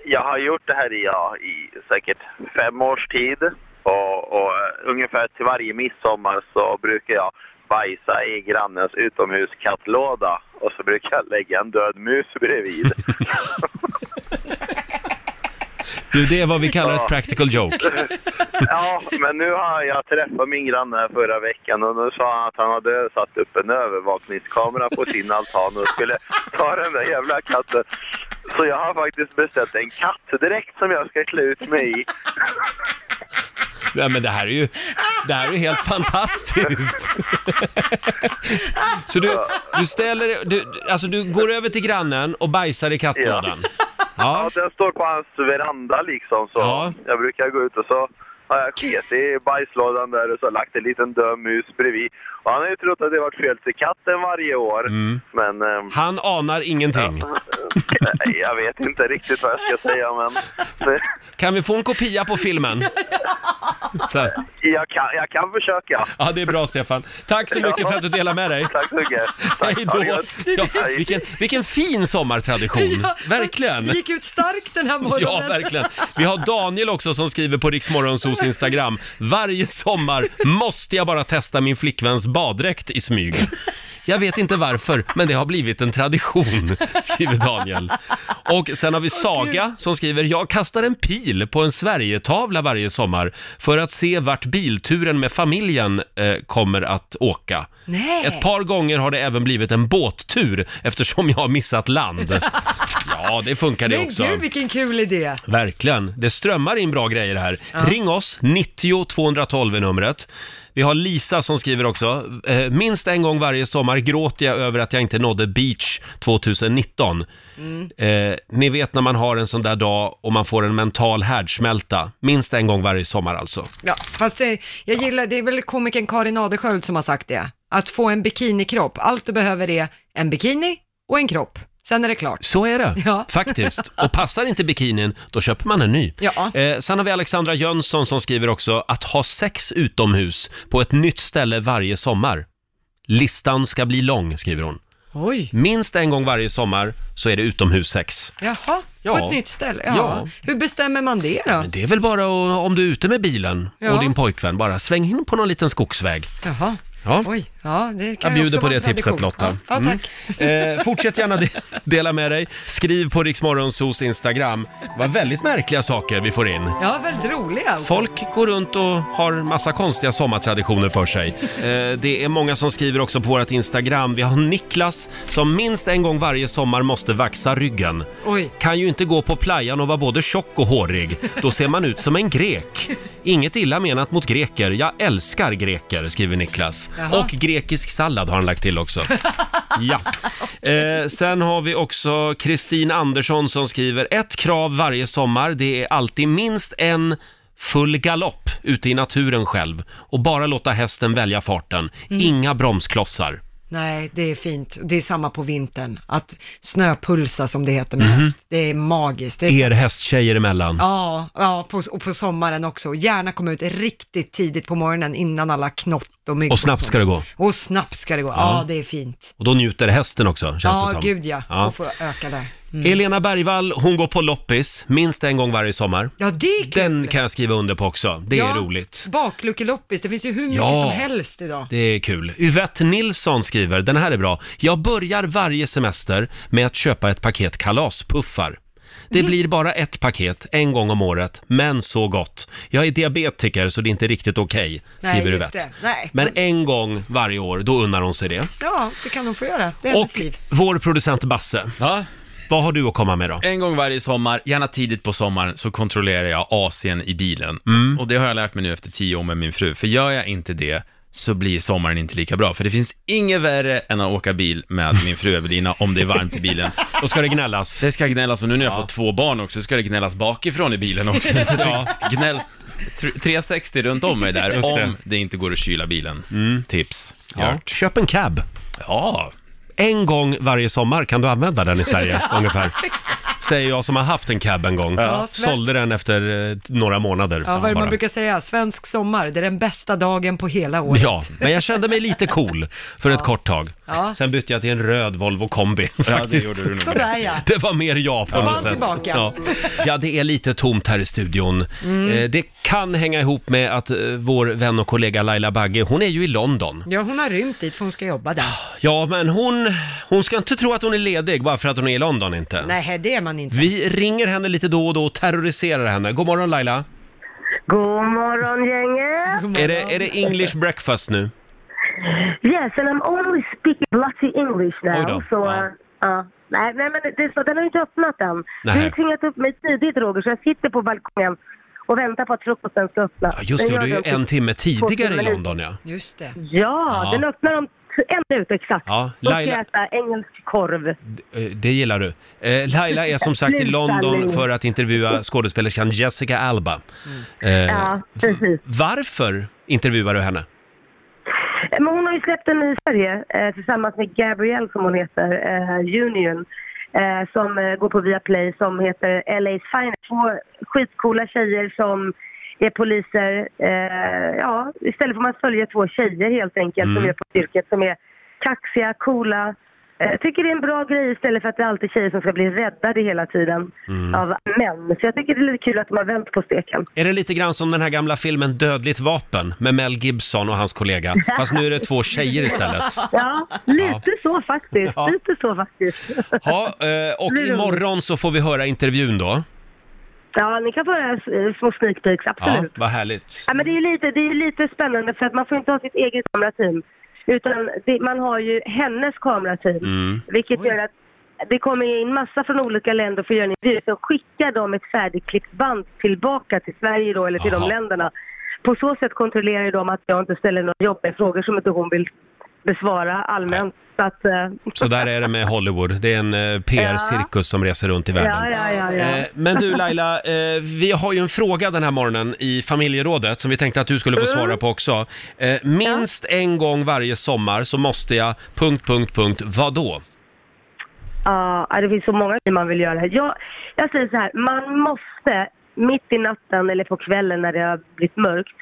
Speaker 9: Jag har gjort det här i, ja, i säkert fem års tid. Och, och eh, ungefär till varje midsommar så brukar jag bajsa i grannens utomhuskattlåda och så brukar jag lägga en död mus bredvid.
Speaker 1: Du, det är vad vi kallar
Speaker 9: Ja.
Speaker 1: ett practical joke.
Speaker 9: ja, men nu har jag träffat min granne förra veckan och nu sa han att han hade satt upp en övervakningskamera på sin altan och skulle ta den där jävla katten. Så jag har faktiskt beställt en kattdräkt som jag ska klä ut mig i.
Speaker 1: Nej, men det här är ju, det här är ju helt fantastiskt. Så du, du ställer du, alltså du går över till grannen och bajsar i kattlådan. Ja.
Speaker 9: Ja, den står på hans veranda liksom. Så
Speaker 1: Ja.
Speaker 9: jag brukar gå ut och så har jag sket i bajslådan där och så lagt en liten död mus bredvid. Och han har ju trott att det varit fel till katten varje år.
Speaker 1: Mm.
Speaker 9: Men ehm,
Speaker 1: Han anar ingenting.
Speaker 9: nej, jag vet inte riktigt vad jag ska säga men
Speaker 1: Kan vi få en kopia på filmen? Så,
Speaker 9: jag kan, jag kan försöka.
Speaker 1: ja, det är bra Stefan. Tack så mycket för att du delar med dig.
Speaker 9: Tack så mycket. Tack.
Speaker 1: Hej
Speaker 9: Ha
Speaker 1: då!
Speaker 9: det gött.
Speaker 1: Ja,
Speaker 9: Hej.
Speaker 1: vilken, vilken fin sommartradition! Verkligen!
Speaker 2: Gick ut starkt den här morgonen.
Speaker 1: Ja, verkligen. Vi har Daniel också som skriver på Riksmorgonsos Instagram. Varje sommar måste jag bara testa min flickväns baddräkt i smyg. Jag vet inte varför, men det har blivit en tradition, skriver Daniel. Och sen har vi Saga som skriver, jag kastar en pil på en Sverigetavla varje sommar för att se vart bilturen med familjen eh, kommer att åka.
Speaker 2: Nej.
Speaker 1: Ett par gånger har det även blivit en båttur eftersom jag har missat land. Ja, det funkar det
Speaker 2: Men
Speaker 1: också.
Speaker 2: gud vilken kul idé.
Speaker 1: Verkligen. Det strömmar in bra grejer här. Ring oss, 90 212 är numret. Vi har Lisa som skriver också. eh, Minst en gång varje sommar gråter jag över att jag inte nådde beach 2019. Eh, ni vet när man har en sån där dag och man får en mental härdsmälta. Minst en gång varje sommar alltså.
Speaker 2: Ja, fast det, jag gillar, det är väl komikern Karin Adelsköld som har sagt det. Att få en bikinikropp, allt du behöver är en bikini och en kropp. Sen är det klart.
Speaker 1: Så är det,
Speaker 2: Ja.
Speaker 1: faktiskt. Och passar inte bikinin, då köper man en ny.
Speaker 2: Ja.
Speaker 1: Eh, sen har vi Alexandra Jönsson som skriver också att ha sex utomhus på ett nytt ställe varje sommar. Listan ska bli lång, skriver hon.
Speaker 2: Oj.
Speaker 1: Minst en gång varje sommar så är det utomhussex.
Speaker 2: Jaha, på
Speaker 1: Ja.
Speaker 2: ett nytt ställe. Ja.
Speaker 1: Ja.
Speaker 2: Hur bestämmer man det då?
Speaker 1: Men det är väl bara att- om du är ute med bilen
Speaker 2: Ja.
Speaker 1: och din pojkvän, bara sväng in på någon liten skogsväg.
Speaker 2: Jaha.
Speaker 1: Ja.
Speaker 2: Oj, ja det kan
Speaker 1: Jag
Speaker 2: ju
Speaker 1: bjuder
Speaker 2: också
Speaker 1: på
Speaker 2: vara
Speaker 1: det
Speaker 2: en tradition.
Speaker 1: tipset Lotta.
Speaker 2: Ja, ja
Speaker 1: Mm.
Speaker 2: tack.
Speaker 1: Eh, fortsätt gärna de- dela med dig. Skriv på Riksmorgonsos Instagram. Det var väldigt märkliga saker vi får in.
Speaker 2: Ja, väldigt roliga alltså.
Speaker 1: Folk går runt och har massa konstiga sommartraditioner för sig. Eh, det är många som skriver också på vårt Instagram. Vi har Niklas som minst en gång varje sommar måste vaxa ryggen.
Speaker 2: Oj.
Speaker 1: Kan ju inte gå på playan och vara både tjock och hårig. Då ser man ut som en grek. Inget illa menat mot greker. Jag älskar greker, skriver Niklas.
Speaker 2: Jaha.
Speaker 1: Och grekisk sallad har han lagt till också. Ja. Eh, sen har vi också Kristin Andersson som skriver ett krav varje sommar. Det är alltid minst en full galopp ute i naturen själv och bara låta hästen välja farten.
Speaker 2: Mm.
Speaker 1: Inga bromsklossar.
Speaker 2: Nej, det är fint. Det är samma på vintern. Att snöpulsa som det heter
Speaker 1: Mhm.
Speaker 2: med häst. Det är magiskt. Det är
Speaker 1: Er hästtjejer emellan.
Speaker 2: Ja, ja på, och på sommaren också. Gärna komma ut riktigt tidigt på morgonen innan alla knott och mygg.
Speaker 1: Och snabbt ska det gå.
Speaker 2: Och snabbt ska det gå. Ja, det är fint.
Speaker 1: Och då njuter hästen också, känns det
Speaker 2: Ja,
Speaker 1: som.
Speaker 2: gud ja.
Speaker 1: Ja.
Speaker 2: Och få Mm. öka där.
Speaker 1: Elena Bergvall, hon går på loppis minst en gång varje sommar.
Speaker 2: Ja, det är kul.
Speaker 1: Den kan jag skriva under på också. Det
Speaker 2: ja,
Speaker 1: är roligt.
Speaker 2: Bakluckeloppis, det finns ju hur mycket
Speaker 1: Ja.
Speaker 2: som helst idag.
Speaker 1: Det är kul. Yvette Nilsson skriver, den här är bra. Jag börjar varje semester med att köpa ett paket kalaspuffar. Det blir bara ett paket en gång om året, men så gott. Jag är diabetiker så det är inte riktigt okej,
Speaker 2: Nej,
Speaker 1: skriver
Speaker 2: just
Speaker 1: Yvette.
Speaker 2: det. Nej.
Speaker 1: Men en gång varje år, då unnar hon sig det.
Speaker 2: Ja, det kan de få göra. Det är hennes
Speaker 1: Och
Speaker 2: liv.
Speaker 1: vår producent Basse,
Speaker 4: Ja,
Speaker 1: vad har du att komma med då?
Speaker 4: en gång varje sommar, gärna tidigt på sommaren, så kontrollerar jag AC'n i bilen.
Speaker 1: Mm.
Speaker 4: Och det har jag lärt mig nu efter tio år med min fru, för gör jag inte det så blir sommaren inte lika bra. För det finns inget värre än att åka bil med min fru Evelina om det är varmt i bilen.
Speaker 1: Då ska det gnällas.
Speaker 4: Det ska gnällas och nu när jag fått två barn också ska det gnällas bakifrån i bilen också. Så det gnälls tr- 360 runt om mig där
Speaker 1: Just det. Mm.
Speaker 4: om det inte går att kyla bilen. Tips.
Speaker 1: Ja. Köp en cab.
Speaker 4: ja.
Speaker 1: En gång varje sommar kan du använda den i Sverige, ungefär. Säger jag som har haft en cab en gång.
Speaker 2: Ja, Sven-
Speaker 1: Sålde den efter eh, några månader.
Speaker 2: Ja, vad är det
Speaker 1: bara.
Speaker 2: man brukar säga? Svensk sommar, det är den bästa dagen på hela året.
Speaker 1: Ja, men jag kände mig lite cool för ett kort tag.
Speaker 2: Ja.
Speaker 1: Sen bytte jag till en röd Volvo kombi
Speaker 4: ja, det
Speaker 1: faktiskt.
Speaker 4: gjorde du nog. bra.
Speaker 2: Sådär ja.
Speaker 1: Det var mer jag på
Speaker 2: Ja.
Speaker 1: något
Speaker 2: Var
Speaker 1: sätt.
Speaker 2: tillbaka. Mm.
Speaker 1: Ja. ja, det är lite tomt här i studion. Eh, Det kan hänga ihop med att eh, vår vän och kollega Laila Bagge, hon är ju i London.
Speaker 2: Ja, hon har rymt dit för hon ska jobba där.
Speaker 1: Ja, men hon, hon ska inte tro att hon är ledig bara för att hon är i London inte.
Speaker 2: Nej, det är man inte.
Speaker 1: Vi ringer henne lite då och då och terroriserar henne. God morgon Laila.
Speaker 8: God morgon gänget!
Speaker 2: God
Speaker 1: Är
Speaker 2: morgon.
Speaker 1: det, är det English breakfast nu?
Speaker 8: Yes, and I'm only speaking bloody English
Speaker 1: Oj
Speaker 8: now.
Speaker 1: då,
Speaker 8: Så,
Speaker 1: ja.
Speaker 8: eh, ja. nej, nej, men det är så, den har inte öppnat än. Du
Speaker 1: Nej.
Speaker 8: har tvingat upp mig tidigt Roger, så jag sitter på balkongen och väntar på att frukosten ska öppna.
Speaker 1: Ja, just det,
Speaker 8: Den
Speaker 1: och det är
Speaker 8: gör
Speaker 1: ju
Speaker 8: den
Speaker 1: en
Speaker 8: till-
Speaker 1: timme
Speaker 8: två
Speaker 1: tidigare i
Speaker 8: timmar nu.
Speaker 1: London ja.
Speaker 2: Just det.
Speaker 8: Ja,
Speaker 1: Ja.
Speaker 8: den öppnar om en minut exakt.
Speaker 1: Ja,
Speaker 8: Då ska
Speaker 1: Laila-
Speaker 8: jag äta engelsk korv.
Speaker 1: Eh, Det gillar du. Eh, Laila är som sagt i
Speaker 8: Sluta
Speaker 1: London
Speaker 8: nu. Mm.
Speaker 1: för att intervjua skådespelerskan Jessica Alba. Eh,
Speaker 8: Ja, precis.
Speaker 1: Varför intervjuar du henne?
Speaker 8: Eh, Men hon har ju släppt en ny serie eh, tillsammans med Gabrielle som hon heter, eh, Union. Eh, som eh, går på Viaplay som heter LA's Finest. Två skitcoola tjejer som är poliser. Eh, ja, istället får man följa två tjejer helt enkelt som är på yrket som är kaxiga, coola. Eh, Jag tycker det är en bra grej istället för att det är alltid tjejer som ska bli räddade hela tiden av män. Så jag tycker det är lite kul att de har vänt på steken.
Speaker 1: Är det lite grann som den här gamla filmen Dödligt vapen med Mel Gibson och hans kollega? Fast nu är det två tjejer istället.
Speaker 8: Ja, lite så faktiskt.
Speaker 1: Ja.
Speaker 8: Lite så faktiskt.
Speaker 1: Ja, eh, och imorgon så får vi höra intervjun då.
Speaker 8: Ja, ni kan få höra eh, små sneak peeks,
Speaker 1: Ja,
Speaker 8: absolut. Ja.
Speaker 1: vad härligt.
Speaker 8: men det, är lite, det är lite spännande för att man får inte ha sitt eget kamerateam. Utan det, man har ju hennes kamerateam.
Speaker 1: Mm.
Speaker 8: Vilket gör att det kommer in massa från olika länder för att göra en intervju. Så skickar de ett färdigklippt band tillbaka till Sverige då, eller till
Speaker 1: Aha.
Speaker 8: de länderna. På så sätt kontrollerar ju de att jag inte ställer några jobbiga frågor som inte hon vill besvara allmänt. Så att, eh,
Speaker 1: Så där är det med Hollywood. Det är en eh, PR-cirkus som reser runt i
Speaker 8: ja,
Speaker 1: världen.
Speaker 8: ja, ja, ja.
Speaker 1: Eh, Men du Laila, eh, vi har ju en fråga den här morgonen i familjerådet som vi tänkte att du skulle få
Speaker 8: Mm.
Speaker 1: svara på också. Eh, Minst en gång varje sommar så måste jag... Punkt, punkt, punkt. Vadå?
Speaker 8: Ja, det finns så många grejer man vill göra. Jag, jag säger så här, man måste mitt i natten eller på kvällen när det har blivit mörkt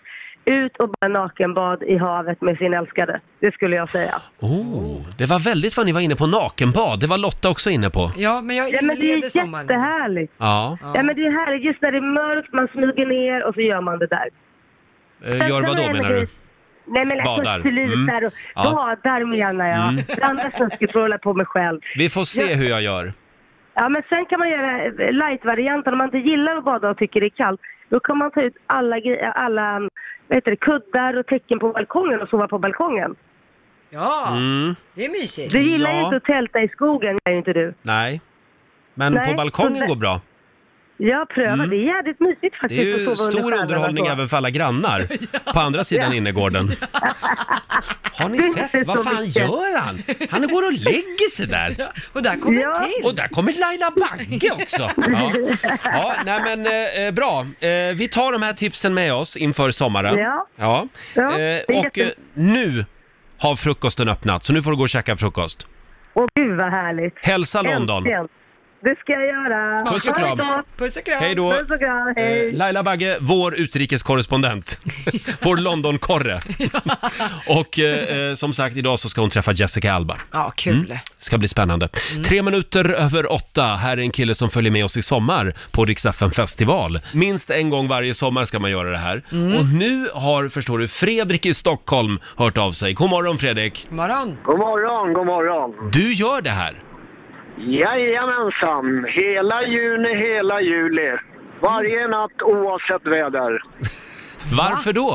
Speaker 8: ut och bara nakenbad i havet med sin älskade. Det skulle jag säga.
Speaker 1: Oh, det var väldigt vad ni var inne på nakenbad. Det var Lotta också inne på.
Speaker 2: Ja, men jag
Speaker 8: Ja, men det är
Speaker 2: inleder sommaren.
Speaker 8: jättehärligt.
Speaker 1: Ja,
Speaker 8: Ja, men det är härligt just när det är mörkt, man smyger ner och så gör man det där.
Speaker 1: eh, gör
Speaker 8: Sen
Speaker 1: vad då
Speaker 8: är det
Speaker 1: menar du?
Speaker 8: det- Nej men
Speaker 1: Badar. Mm.
Speaker 8: alltså slutar och
Speaker 1: Ja. Mm.
Speaker 8: badar menar jag. Blanda snuskigt för att hålla på mig själv.
Speaker 1: Vi får se hur jag gör.
Speaker 8: Ja, men sen kan man göra light-varianten. Om man inte gillar att bada och tycker det är kallt, då kan man ta ut alla, gre- alla vad heter det, kuddar och tecken på balkongen och sova på balkongen.
Speaker 2: Ja,
Speaker 1: Mm,
Speaker 2: det är mysigt.
Speaker 8: Du gillar ju
Speaker 1: Ja.
Speaker 8: inte att tälta i skogen, gör ju inte du.
Speaker 1: nej. Men
Speaker 8: Nej,
Speaker 1: på balkongen
Speaker 8: så-
Speaker 1: går bra.
Speaker 8: Jag prövar, det är jävligt
Speaker 1: Mm.
Speaker 8: mysigt
Speaker 1: Det är
Speaker 8: faktiskt
Speaker 1: ju
Speaker 8: att sova under
Speaker 1: stor
Speaker 8: stjärnorna
Speaker 1: underhållning
Speaker 8: så.
Speaker 1: även för alla grannar på andra sidan innergården. Har ni
Speaker 8: Det är
Speaker 1: sett?
Speaker 8: inte
Speaker 1: Vad
Speaker 8: så
Speaker 1: fan
Speaker 8: mycket.
Speaker 1: gör han? Han går och lägger sig där.
Speaker 2: Och där kommer
Speaker 8: Ja.
Speaker 2: en till.
Speaker 1: Och där kommer Laila Bagge också. Ja, ja nej men eh, eh, bra. Eh, vi tar de här tipsen med oss inför sommaren.
Speaker 8: Ja.
Speaker 1: ja.
Speaker 8: Ja,
Speaker 1: Eh,
Speaker 8: det är
Speaker 1: och eh,
Speaker 8: jätte-
Speaker 1: nu har frukosten öppnat, så nu får du gå och käka frukost.
Speaker 8: Åh gud vad härligt.
Speaker 1: Hälsa London.
Speaker 8: Äntligen. Det ska jag göra.
Speaker 1: Puss och kram.
Speaker 2: Puss och kram.
Speaker 1: Hej då.
Speaker 8: Puss och kram, hej.
Speaker 1: Eh, Laila Bagge, vår utrikeskorrespondent. vår Londonkorre. och eh, eh, som sagt, idag så ska hon träffa Jessica Alba.
Speaker 2: Ja, kul.
Speaker 1: Ska bli spännande. Tre minuter över åtta. Här är en kille som följer med oss i sommar på Riksdagen festival. Minst en gång varje sommar ska man göra det här. Och nu har, förstår du, Fredrik i Stockholm hört av sig. God morgon Fredrik!
Speaker 2: God morgon.
Speaker 9: God morgon, god morgon.
Speaker 1: Du gör det här!
Speaker 9: Jajamensan. Hela juni, hela juli. Varje natt oavsett väder.
Speaker 1: Mm. Varför då?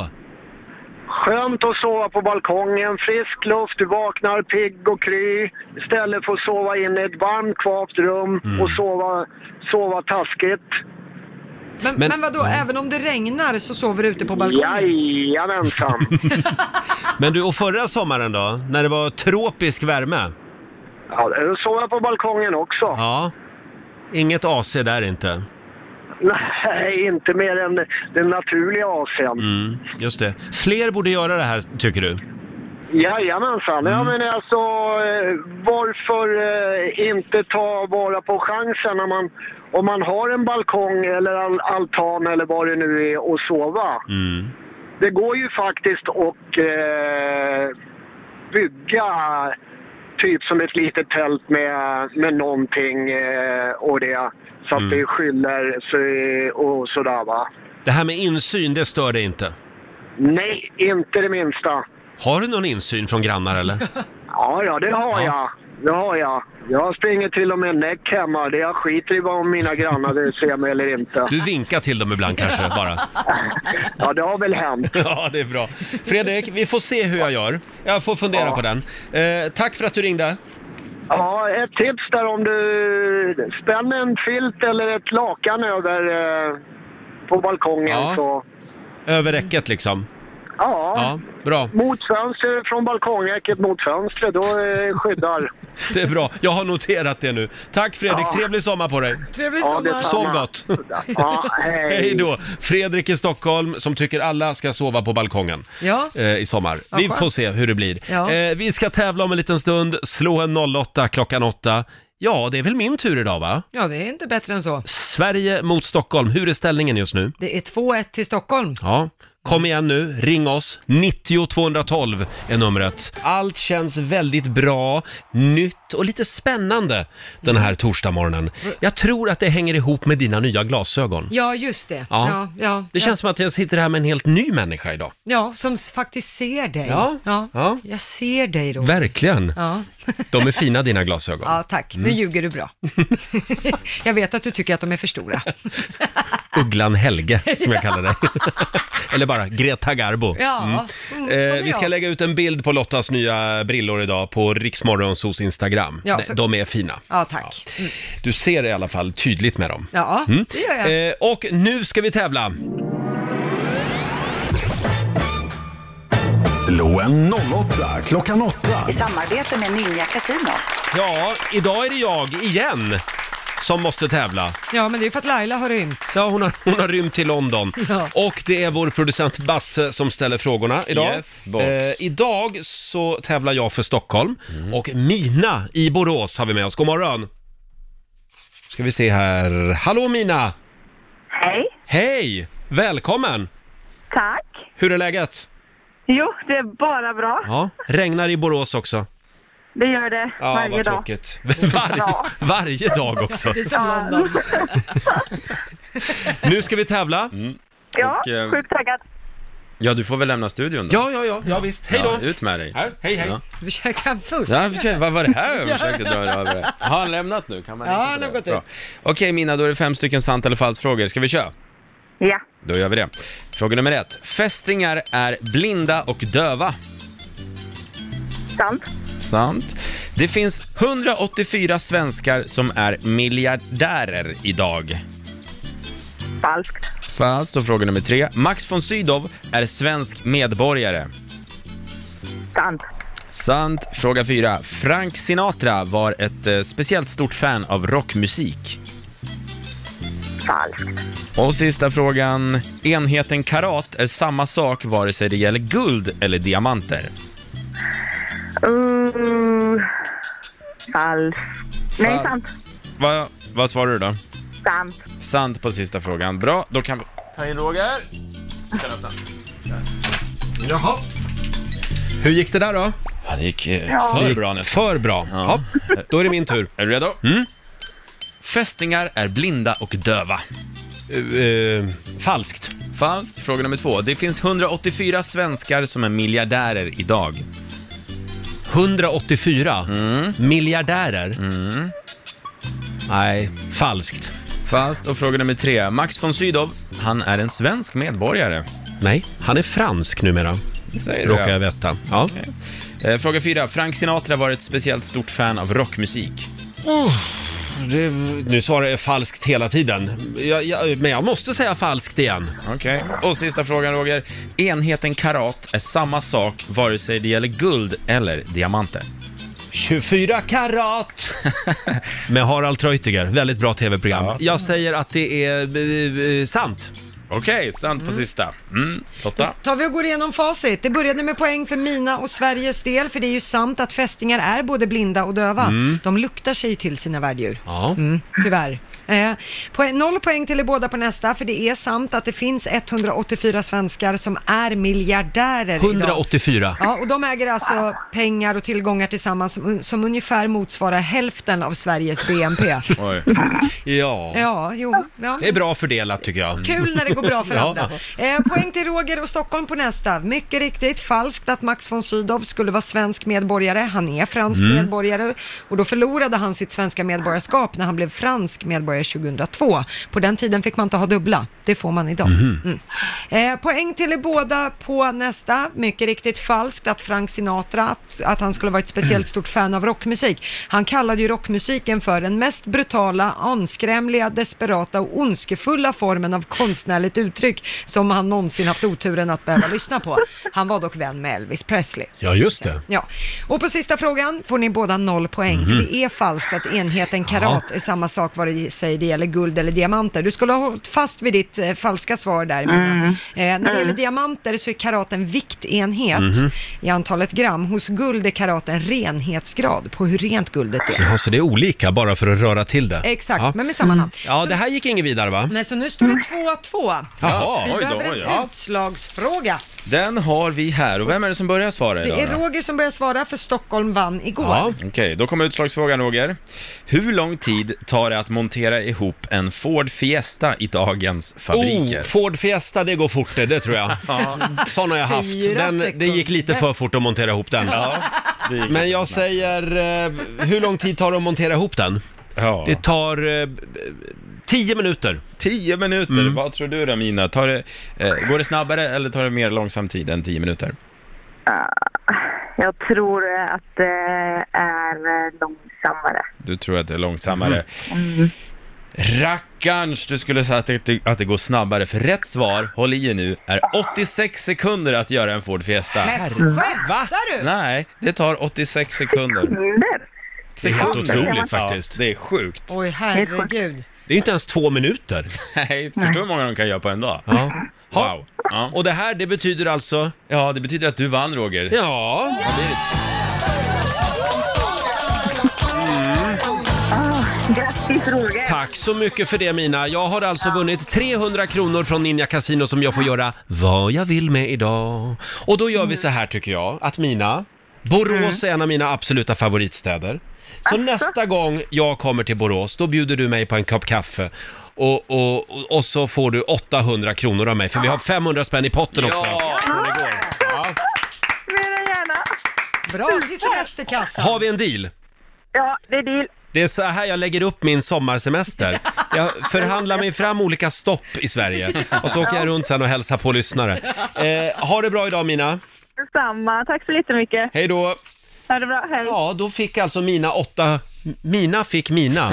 Speaker 9: Skönt att sova på balkongen, frisk luft, du vaknar pigg och kry istället för att sova inne i ett varmt kvavt rum och sova, sova taskigt.
Speaker 2: Men,
Speaker 1: Men-
Speaker 2: men, vadå, även om det regnar så sover du ute på balkongen?
Speaker 9: Jajamensan.
Speaker 1: Men du, och förra sommaren då? När det var tropisk värme?
Speaker 9: Ja, då sover jag på balkongen också.
Speaker 1: Ja. Inget AC där inte.
Speaker 9: Nej, inte mer än den naturliga AC'n.
Speaker 1: Mm, just det. Fler borde göra det här, tycker du?
Speaker 9: Jajamensan. Ja, men alltså, eh, varför eh, inte ta vara på chansen när man, om man har en balkong eller al- altan eller vad det nu är och sova?
Speaker 1: Mm.
Speaker 9: Det går ju faktiskt att eh, bygga typ som ett litet tält med, med någonting eh, och det. Så att det skyller sig och sådär va.
Speaker 1: Det här med insyn, det stör dig inte?
Speaker 9: Nej, inte det minsta.
Speaker 1: Har du någon insyn från grannar eller?
Speaker 9: Ja, ja, det har
Speaker 1: Ja.
Speaker 9: jag. Det har jag. Jag springer till och med näck hemma. Det jag skiter i vad om mina grannar ser mig eller inte.
Speaker 1: Du vinkar till dem ibland kanske bara.
Speaker 9: Ja, det har väl hänt.
Speaker 1: Ja, det är bra. Fredrik, vi får se hur jag gör. Jag får fundera
Speaker 9: Ja.
Speaker 1: på den. Eh, tack för att du ringde.
Speaker 9: Ja, ett tips där om du spänner en filt eller ett lakan över eh, på balkongen
Speaker 1: Ja.
Speaker 9: så...
Speaker 1: Över räcket liksom.
Speaker 9: Ja,
Speaker 1: Ja, bra.
Speaker 9: motfönster från balkongräcket mot fönstret, då eh, skyddar.
Speaker 1: Det är bra. Jag har noterat det nu. Tack Fredrik,
Speaker 9: Ja.
Speaker 1: trevlig sommar på dig.
Speaker 2: Trevlig
Speaker 9: Ja,
Speaker 2: sommar.
Speaker 9: detsamma.
Speaker 1: Sov gott.
Speaker 9: Ja, hej.
Speaker 1: Hej då! Fredrik i Stockholm som tycker alla ska sova på balkongen
Speaker 2: Ja,
Speaker 1: eh, i sommar. Vi
Speaker 2: skönt.
Speaker 1: får se hur det blir.
Speaker 2: Ja.
Speaker 1: Eh, vi ska tävla om en liten stund. Slå en 08 klockan 8. Ja, det är väl min tur idag va?
Speaker 2: ja, det är inte bättre än så.
Speaker 1: Sverige mot Stockholm. Hur är ställningen just nu?
Speaker 2: Det är 2-1 till Stockholm.
Speaker 1: Ja, kom igen nu, ring oss. 90 212 är numret. Allt känns väldigt bra, nytt och lite spännande den här torsdagsmorgonen. Jag tror att det hänger ihop med dina nya glasögon.
Speaker 2: Ja, just det.
Speaker 1: Ja.
Speaker 2: Ja, ja, ja,
Speaker 1: Det känns som att jag sitter här med en helt ny människa idag.
Speaker 2: ja som s- faktiskt ser dig.
Speaker 1: Ja, ja.
Speaker 2: Jag ser dig då.
Speaker 1: Verkligen.
Speaker 2: Ja.
Speaker 1: De är fina dina glasögon.
Speaker 2: ja, tack.
Speaker 1: Mm.
Speaker 2: Nu ljuger du bra. jag vet att du tycker att de är för stora.
Speaker 1: Ugglan Helge, som jag kallar dig. Eller bara Greta Garbo.
Speaker 2: Ja, mm. sån är
Speaker 1: Eh, vi ska
Speaker 2: jag.
Speaker 1: lägga ut en bild på Lottas nya brillor idag på Riksmorgonsos Instagram.
Speaker 2: Ja,
Speaker 1: De-
Speaker 2: så-
Speaker 1: De är fina.
Speaker 2: Ja, tack. Mm.
Speaker 1: Du ser i alla fall tydligt med dem.
Speaker 2: Ja, det gör jag.
Speaker 1: Eh, och nu ska vi tävla!
Speaker 3: Slå en 08 klockan 8.
Speaker 10: I samarbete med Ninja Casino.
Speaker 1: Ja, idag är det jag igen som måste tävla.
Speaker 2: Ja, men det är för att Laila har rymt.
Speaker 1: Ja, hon har, hon har rymt till London.
Speaker 2: Ja.
Speaker 1: Och det är vår producent Basse som ställer frågorna idag. Eh,
Speaker 4: Yes, boss.
Speaker 1: idag så tävlar jag för Stockholm och Mina i Borås har vi med oss. God morgon! Ska vi se här. Hallå Mina!
Speaker 8: Hej,
Speaker 1: Hej! Välkommen!
Speaker 8: tack.
Speaker 1: Hur är läget?
Speaker 8: Jo, det är bara bra.
Speaker 1: Ja, regnar i Borås också.
Speaker 8: Det gör det
Speaker 1: Ja,
Speaker 8: varje
Speaker 1: vad
Speaker 8: dag.
Speaker 1: tråkigt. Varje, varje dag också.
Speaker 2: Det är som London.
Speaker 1: Nu ska vi tävla.
Speaker 8: Ja,
Speaker 4: Och, eh,
Speaker 8: sjukt taggad.
Speaker 4: Ja, du får väl lämna studion då.
Speaker 1: Ja, ja, ja, ja visst. Hej då!
Speaker 4: Ja, ut med dig.
Speaker 1: Ja, hej, hej.
Speaker 4: Ja.
Speaker 2: Vi käkar först.
Speaker 4: Ja, jag försöker, vad var det här jag försökte dra över? det? Har han lämnat nu? Kan man
Speaker 2: Ja,
Speaker 4: lita på
Speaker 2: han har
Speaker 4: det?
Speaker 2: gått
Speaker 4: Bra.
Speaker 2: ut.
Speaker 4: Okej Mina, då är det fem stycken sant eller falskt frågor. Ska vi köra?
Speaker 8: Ja,
Speaker 4: Då gör vi det. Fråga nummer ett. Fästingar är blinda och döva.
Speaker 8: sant.
Speaker 4: Sant. Det finns 184 svenskar som är miljardärer idag.
Speaker 8: Falskt.
Speaker 4: Falskt. Och fråga nummer tre. Max von Sydow är svensk medborgare.
Speaker 8: Sant.
Speaker 4: Sant. Fråga fyra. Frank Sinatra var ett eh, speciellt stort fan av rockmusik.
Speaker 8: Falskt.
Speaker 4: Och sista frågan. Enheten karat är samma sak vare sig det gäller guld eller diamanter.
Speaker 8: Uh, falskt. Nej,
Speaker 4: Fal-
Speaker 8: sant.
Speaker 4: Va, vad svarar du då?
Speaker 8: Sant.
Speaker 4: Sant på sista frågan. Bra, då kan vi...
Speaker 1: Jaha. Hur gick det där då?
Speaker 4: Ja, det gick eh, för bra nästan.
Speaker 1: För bra. Ja. Då är det min tur.
Speaker 4: Är du redo? Fästingar är blinda och döva.
Speaker 1: Eh, eh, falskt.
Speaker 4: Falskt. Fråga nummer två. Det finns 184 svenskar som är miljardärer idag.
Speaker 1: 184.
Speaker 4: Mm.
Speaker 1: Miljardärer. Nej, falskt.
Speaker 4: Falskt. Och fråga nummer tre. Max von Sydow, han är en svensk medborgare.
Speaker 1: Nej, han är fransk numera,
Speaker 4: Det säger
Speaker 1: råkar jag veta. Ja.
Speaker 4: Eh, Fråga fyra. Frank Sinatra var ett speciellt stort fan av rockmusik.
Speaker 1: Det, nu svarar jag falskt hela tiden, jag, jag, men jag måste säga falskt igen.
Speaker 4: Okej. Och sista frågan, Roger. Enheten karat är samma sak vare sig det gäller guld eller diamanter.
Speaker 1: 24 karat! Med Harald Treutiger, väldigt bra tv-program. Jag säger att det är eh, eh, sant.
Speaker 4: Okej, sant på sista. Mm. Lotta?
Speaker 2: Tar vi och går igenom facit. Det började med poäng för mina och Sveriges del, för det är ju sant att fästingar är både blinda och döva.
Speaker 1: Mm.
Speaker 2: De luktar sig till sina värddjur.
Speaker 1: Ja.
Speaker 2: Mm, tyvärr. Eh, poäng, noll poäng till er båda på nästa, för det är sant att det finns 184 svenskar som är miljardärer idag.
Speaker 1: 184.
Speaker 2: Ja, och de äger alltså pengar och tillgångar tillsammans som, som ungefär motsvarar hälften av Sveriges BNP.
Speaker 4: Oj.
Speaker 1: Ja.
Speaker 2: Ja, jo. Ja.
Speaker 1: Det är bra fördelat tycker jag.
Speaker 2: Kul när det går bra för
Speaker 1: Ja.
Speaker 2: andra. Eh, poäng till Roger och Stockholm på nästa. Mycket riktigt, falskt att Max von Sydow skulle vara svensk medborgare. Han är fransk medborgare och då förlorade han sitt svenska medborgarskap när han blev fransk medborgare 2002. På den tiden fick man inte ha dubbla. Det får man idag. Mm. Eh, poäng till er båda på nästa. Mycket riktigt falskt att Frank Sinatra, att, att han skulle vara ett speciellt stort fan av rockmusik. Han kallade ju rockmusiken för den mest brutala, anskrämliga, desperata och ondskefulla formen av konstnärligt uttryck som han någonsin någonsin haft oturen att behöva lyssna på. Han var dock vän med Elvis Presley.
Speaker 1: Ja, just det.
Speaker 2: Ja, och på sista frågan får ni båda noll poäng, för
Speaker 1: Mhm.
Speaker 2: det är falskt att enheten karat är samma sak vare sig det gäller guld eller diamanter. Du skulle ha hållit fast vid ditt eh, falska svar där, Mina. Eh, när det gäller
Speaker 11: Mm.
Speaker 2: diamanter så är karat en viktenhet
Speaker 1: Mhm.
Speaker 2: i antalet gram. Hos guld är karat en renhetsgrad på hur rent guldet är.
Speaker 1: Jaha, så det är olika bara för att röra till det?
Speaker 2: Exakt,
Speaker 1: ja.
Speaker 2: men med
Speaker 4: Mm.
Speaker 2: samma namn.
Speaker 1: Ja, det här gick inget vidare va?
Speaker 2: Men så nu står det 2-2.
Speaker 4: Jaha,
Speaker 2: Vi
Speaker 4: oj då,
Speaker 2: behöver
Speaker 4: oj
Speaker 2: en
Speaker 4: då. Ja.
Speaker 2: utslagsfråga.
Speaker 4: Den har vi här och vem är det som börjar svara idag
Speaker 2: Det är
Speaker 4: då?
Speaker 2: Roger som börjar svara, för Stockholm vann igår.
Speaker 4: Okej, då kommer utslagsfrågan Roger. Hur lång tid tar det att montera ihop en Ford Fiesta i dagens fabriker?
Speaker 1: Oh, Ford Fiesta, det går fort det, det tror jag. Sån har jag haft.
Speaker 4: Fyra
Speaker 1: Den, det gick lite för fort att montera ihop den.
Speaker 4: Ja,
Speaker 1: Men jag säger, eh, hur lång tid tar det att montera ihop den? Det tar eh, tio minuter.
Speaker 4: Tio minuter,
Speaker 1: Mm.
Speaker 4: vad tror du då Mina? Tar det, eh, går det snabbare eller tar det mer långsam tid än tio minuter?
Speaker 11: Jag tror eh, att det är eh, långsammare.
Speaker 4: Du tror att det är långsammare. Mm. Rackarns, du skulle säga att det, att det går snabbare, för rätt svar, håll i er nu, är 86 sekunder att göra en Ford Fiesta.
Speaker 2: Men skämtar du?
Speaker 4: Nej, det tar 86 sekunder.
Speaker 1: Det är helt
Speaker 4: Sekunder.
Speaker 1: otroligt faktiskt.
Speaker 4: Ja, det är sjukt.
Speaker 2: Oj, herregud.
Speaker 1: Det är inte ens två minuter.
Speaker 4: Nej, förstår hur många de kan göra på en dag?
Speaker 1: Ja.
Speaker 4: Wow. Ja.
Speaker 1: Och det här, det betyder alltså?
Speaker 4: Ja, det betyder att du vann Roger.
Speaker 1: Ja.
Speaker 11: Mm. Ah, Grattis Roger!
Speaker 1: Tack så mycket för det Mina. Jag har alltså vunnit 300 kronor från Ninja Casino som jag får göra vad jag vill med idag. Och då gör vi så här tycker jag, att Mina, Borås är en av mina absoluta favoritstäder. Så nästa gång jag kommer till Borås, då bjuder du mig på en kopp kaffe. Och, och, och- och så får du 800 kronor av mig, för vi har 500 spänn i potten också.
Speaker 2: Bra till semesterkassan.
Speaker 1: Har vi en deal?
Speaker 11: Ja, det är deal.
Speaker 1: Det är så här jag lägger upp min sommarsemester. Jag förhandlar mig fram olika stopp i Sverige och så åker jag runt sen och hälsar på lyssnare. Eh, ha det bra idag Mina.
Speaker 11: Detsamma. Tack så jättemycket.
Speaker 1: Hej då.
Speaker 11: Ha det bra. Hej.
Speaker 1: Ja, då fick alltså mina åtta... Mina fick mina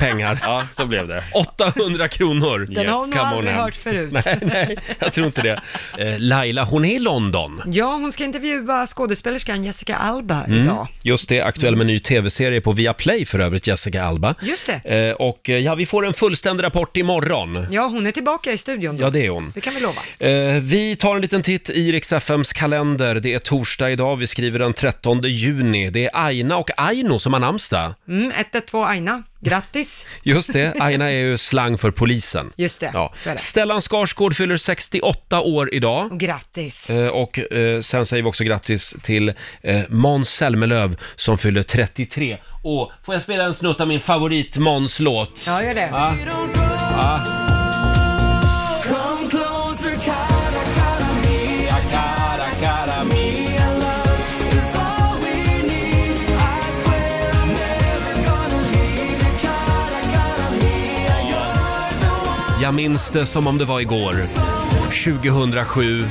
Speaker 1: pengar.
Speaker 4: Ja, så blev det.
Speaker 1: 800 kronor.
Speaker 2: Den har hon nog
Speaker 1: Come on
Speaker 2: aldrig
Speaker 1: hem.
Speaker 2: hört förut.
Speaker 1: Nej, nej, jag tror inte det. Eh, Laila, hon är i London.
Speaker 2: Ja, hon ska intervjua skådespelerskan Jessica Alba
Speaker 1: Mm,
Speaker 2: idag.
Speaker 1: Just det, aktuell med ny tv-serie på Viaplay för övrigt, Jessica Alba.
Speaker 2: Just det.
Speaker 1: Eh, och eh, ja, vi får en fullständig rapport imorgon.
Speaker 2: Ja, hon är tillbaka i studion då.
Speaker 1: Ja, det är hon.
Speaker 2: Det kan vi lova.
Speaker 1: Eh, Vi tar en liten titt i Rix FMs kalender. Det är torsdag idag, vi skriver den 13 juni. Det är Aina och Aino som har namnsdag.
Speaker 2: Mm, 112 Aina, grattis.
Speaker 1: Just det, Aina är ju slang för polisen.
Speaker 2: Just det,
Speaker 1: Ja.
Speaker 2: så är det.
Speaker 1: Stellan Skarsgård fyller 68 år idag.
Speaker 2: Och grattis.
Speaker 1: Eh, Och eh, sen säger vi också grattis till eh, Måns Zelmerlöw som fyller 33. Åh, får jag spela en snutt av min favorit Måns-låt?
Speaker 2: Ja, gör det.
Speaker 1: Ja. Ja.
Speaker 12: Come closer, cara, cara mia, cara, cara mia love is all we need. I swear I'm never gonna leave you, cara, cara mia. You're the one.
Speaker 1: Jag minns det som om det var igår. 2007,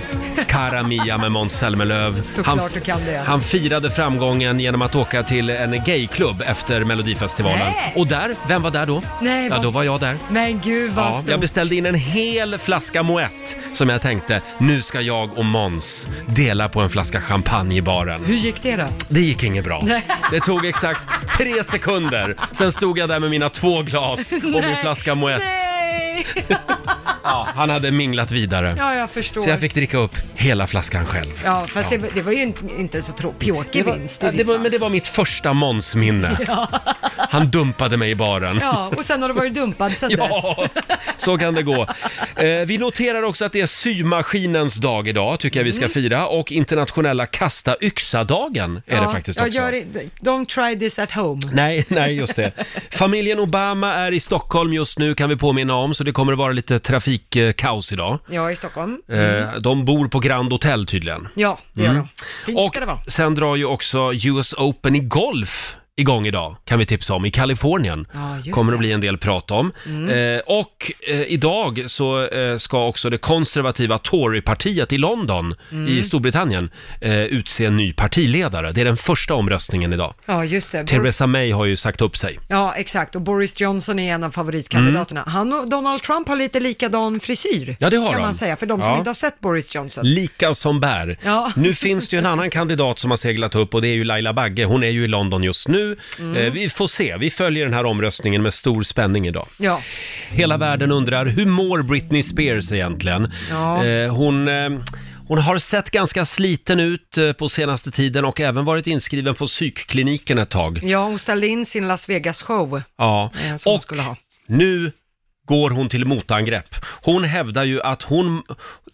Speaker 1: Cara Mia med Måns Zelmerlöw.
Speaker 2: Såklart du kan det.
Speaker 1: han firade framgången genom att åka till en gayklubb efter Melodifestivalen.
Speaker 2: Nej.
Speaker 1: Och där, vem var där då?
Speaker 2: Nej,
Speaker 1: ja,
Speaker 2: vad-
Speaker 1: då var jag där.
Speaker 2: Men gud vad
Speaker 1: Ja,
Speaker 2: stort.
Speaker 1: jag beställde in en hel flaska Moët som jag tänkte, nu ska jag och Måns dela på en flaska champagne i baren.
Speaker 2: Hur gick det då?
Speaker 1: Det gick inget bra. Det tog exakt tre sekunder. Sen stod jag där med mina två glas och min
Speaker 2: Nej.
Speaker 1: flaska Moët.
Speaker 2: Nej!
Speaker 1: Ja, han hade minglat vidare.
Speaker 2: Ja, jag förstår.
Speaker 1: Så jag fick dricka upp hela flaskan själv.
Speaker 2: Ja, fast Det, det var ju inte, inte så trå- pjåkig vinst. i
Speaker 1: ja, det
Speaker 2: ditt
Speaker 1: var,
Speaker 2: fall.
Speaker 1: men det var mitt första Måns-minne. Han dumpade mig i baren.
Speaker 2: Ja, och sen har du varit dumpad sen
Speaker 1: Ja, så kan det gå. Eh, vi noterar också att det är symaskinens dag idag, tycker jag vi ska
Speaker 2: Mm.
Speaker 1: fira. Och internationella kasta yxa-dagen är
Speaker 2: ja,
Speaker 1: det faktiskt
Speaker 2: ja,
Speaker 1: också.
Speaker 2: Gör det, don't try this at home.
Speaker 1: Nej, nej, just det. Familjen Obama är i Stockholm just nu, kan vi påminna om, så det kommer att vara lite trafikkaos idag.
Speaker 2: Ja, i Stockholm.
Speaker 1: Eh,
Speaker 2: Mm.
Speaker 1: De bor på Grand Hotel tydligen.
Speaker 2: Ja, det gör
Speaker 1: Mm.
Speaker 2: de. Fint
Speaker 1: Och
Speaker 2: ska det vara.
Speaker 1: sen drar ju också US Open i golf igång idag, kan vi tipsa om, i Kalifornien.
Speaker 2: Ja, just
Speaker 1: kommer
Speaker 2: det.
Speaker 1: att bli en del prat om.
Speaker 2: Mm.
Speaker 1: Eh, och eh, idag så eh, ska också det konservativa Torypartiet i London
Speaker 2: Mm.
Speaker 1: i Storbritannien eh, utse en ny partiledare. Det är den första omröstningen idag.
Speaker 2: Ja, just det.
Speaker 1: Theresa May har ju sagt upp sig.
Speaker 2: Ja, exakt. Och Boris Johnson är en av favoritkandidaterna. Han och Donald Trump har lite likadan frisyr.
Speaker 1: Mm. Ja, det har
Speaker 2: Kan
Speaker 1: de.
Speaker 2: man säga, för de som
Speaker 1: Ja.
Speaker 2: inte har sett Boris Johnson.
Speaker 1: Lika som bär.
Speaker 2: Ja.
Speaker 1: Nu finns det ju en annan kandidat som har seglat upp och det är ju Laila Bagge. Hon är ju i London just nu.
Speaker 2: Mm.
Speaker 1: Eh, vi får se. Vi följer den här omröstningen med stor spänning idag.
Speaker 2: ja.
Speaker 1: Hela världen undrar, hur mår Britney Spears egentligen?
Speaker 2: Ja.
Speaker 1: Eh, hon, eh, hon har sett ganska sliten ut eh, på senaste tiden och även varit inskriven på psykkliniken ett tag.
Speaker 2: ja, hon ställde in sin Las Vegas-show.
Speaker 1: Ja,
Speaker 2: eh, Som hon
Speaker 1: och
Speaker 2: skulle ha.
Speaker 1: nu går hon till motangrepp. Hon hävdar ju att hon,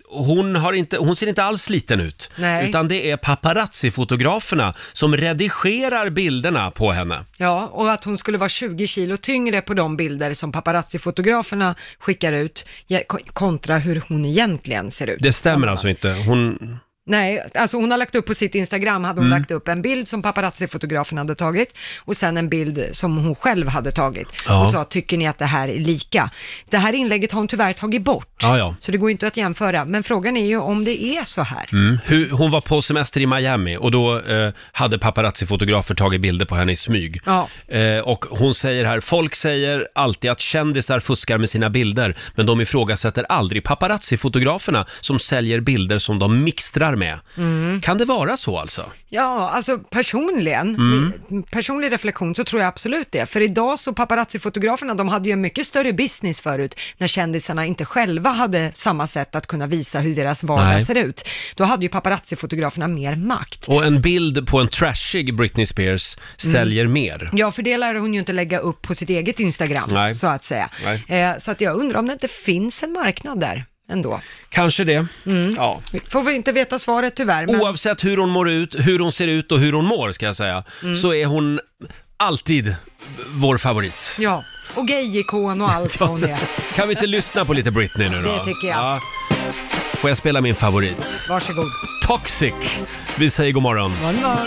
Speaker 1: hon, har inte, hon ser inte alls sliten ut.
Speaker 2: Nej.
Speaker 1: Utan det är paparazzi-fotograferna som redigerar bilderna på henne.
Speaker 2: Ja, och att hon skulle vara 20 kilo tyngre på de bilder som paparazzi-fotograferna skickar ut ja, ko- kontra hur hon egentligen ser ut.
Speaker 1: Det stämmer alltså inte. Hon...
Speaker 2: Nej, alltså hon har lagt upp på sitt Instagram, hade hon
Speaker 1: Mm.
Speaker 2: lagt upp en bild som paparazzi-fotografen hade tagit och sen en bild som hon själv hade tagit
Speaker 1: Ja.
Speaker 2: och sa, tycker ni att det här är lika? Det här inlägget har hon tyvärr tagit bort,
Speaker 1: Ja, ja.
Speaker 2: så det går inte att jämföra, men frågan är ju om det är så här.
Speaker 1: Mm. Hu- Hon var på semester i Miami och då eh, hade paparazzi-fotografer tagit bilder på henne i smyg.
Speaker 2: Ja,
Speaker 1: Eh, och hon säger här, folk säger alltid att kändisar fuskar med sina bilder, men de ifrågasätter aldrig paparazzi-fotograferna som säljer bilder som de mixtrar med.
Speaker 2: Mm.
Speaker 1: Kan det vara så alltså?
Speaker 2: ja alltså personligen,
Speaker 1: Mm.
Speaker 2: personlig reflektion så tror jag absolut det. För idag så paparazzi-fotograferna, de hade ju en mycket större business förut när kändisarna inte själva hade samma sätt att kunna visa hur deras vardag
Speaker 1: Nej.
Speaker 2: ser ut. Då hade ju paparazzi-fotograferna mer makt.
Speaker 1: Och en bild på en trashig Britney Spears säljer
Speaker 2: Mm.
Speaker 1: mer.
Speaker 2: Ja, för det lär hon ju inte lägga upp på sitt eget Instagram,
Speaker 1: Nej.
Speaker 2: så att säga.
Speaker 1: Nej.
Speaker 2: Eh, så att jag undrar om det inte finns en marknad där ändå.
Speaker 1: Kanske det.
Speaker 2: Mm.
Speaker 1: Ja.
Speaker 2: Vi Får vi inte veta svaret tyvärr, men
Speaker 1: Oavsett hur hon mår ut, hur hon ser ut och hur hon mår ska jag säga,
Speaker 2: Mm.
Speaker 1: så är hon alltid vår favorit.
Speaker 2: ja. Och gayikon och allt vad hon är.
Speaker 1: Kan vi inte lyssna på lite Britney nu då?
Speaker 2: Det tycker jag.
Speaker 1: Ja. Får jag spela min favorit?
Speaker 2: Varsågod.
Speaker 1: Toxic. Vi säger god morgon.
Speaker 2: God morgon.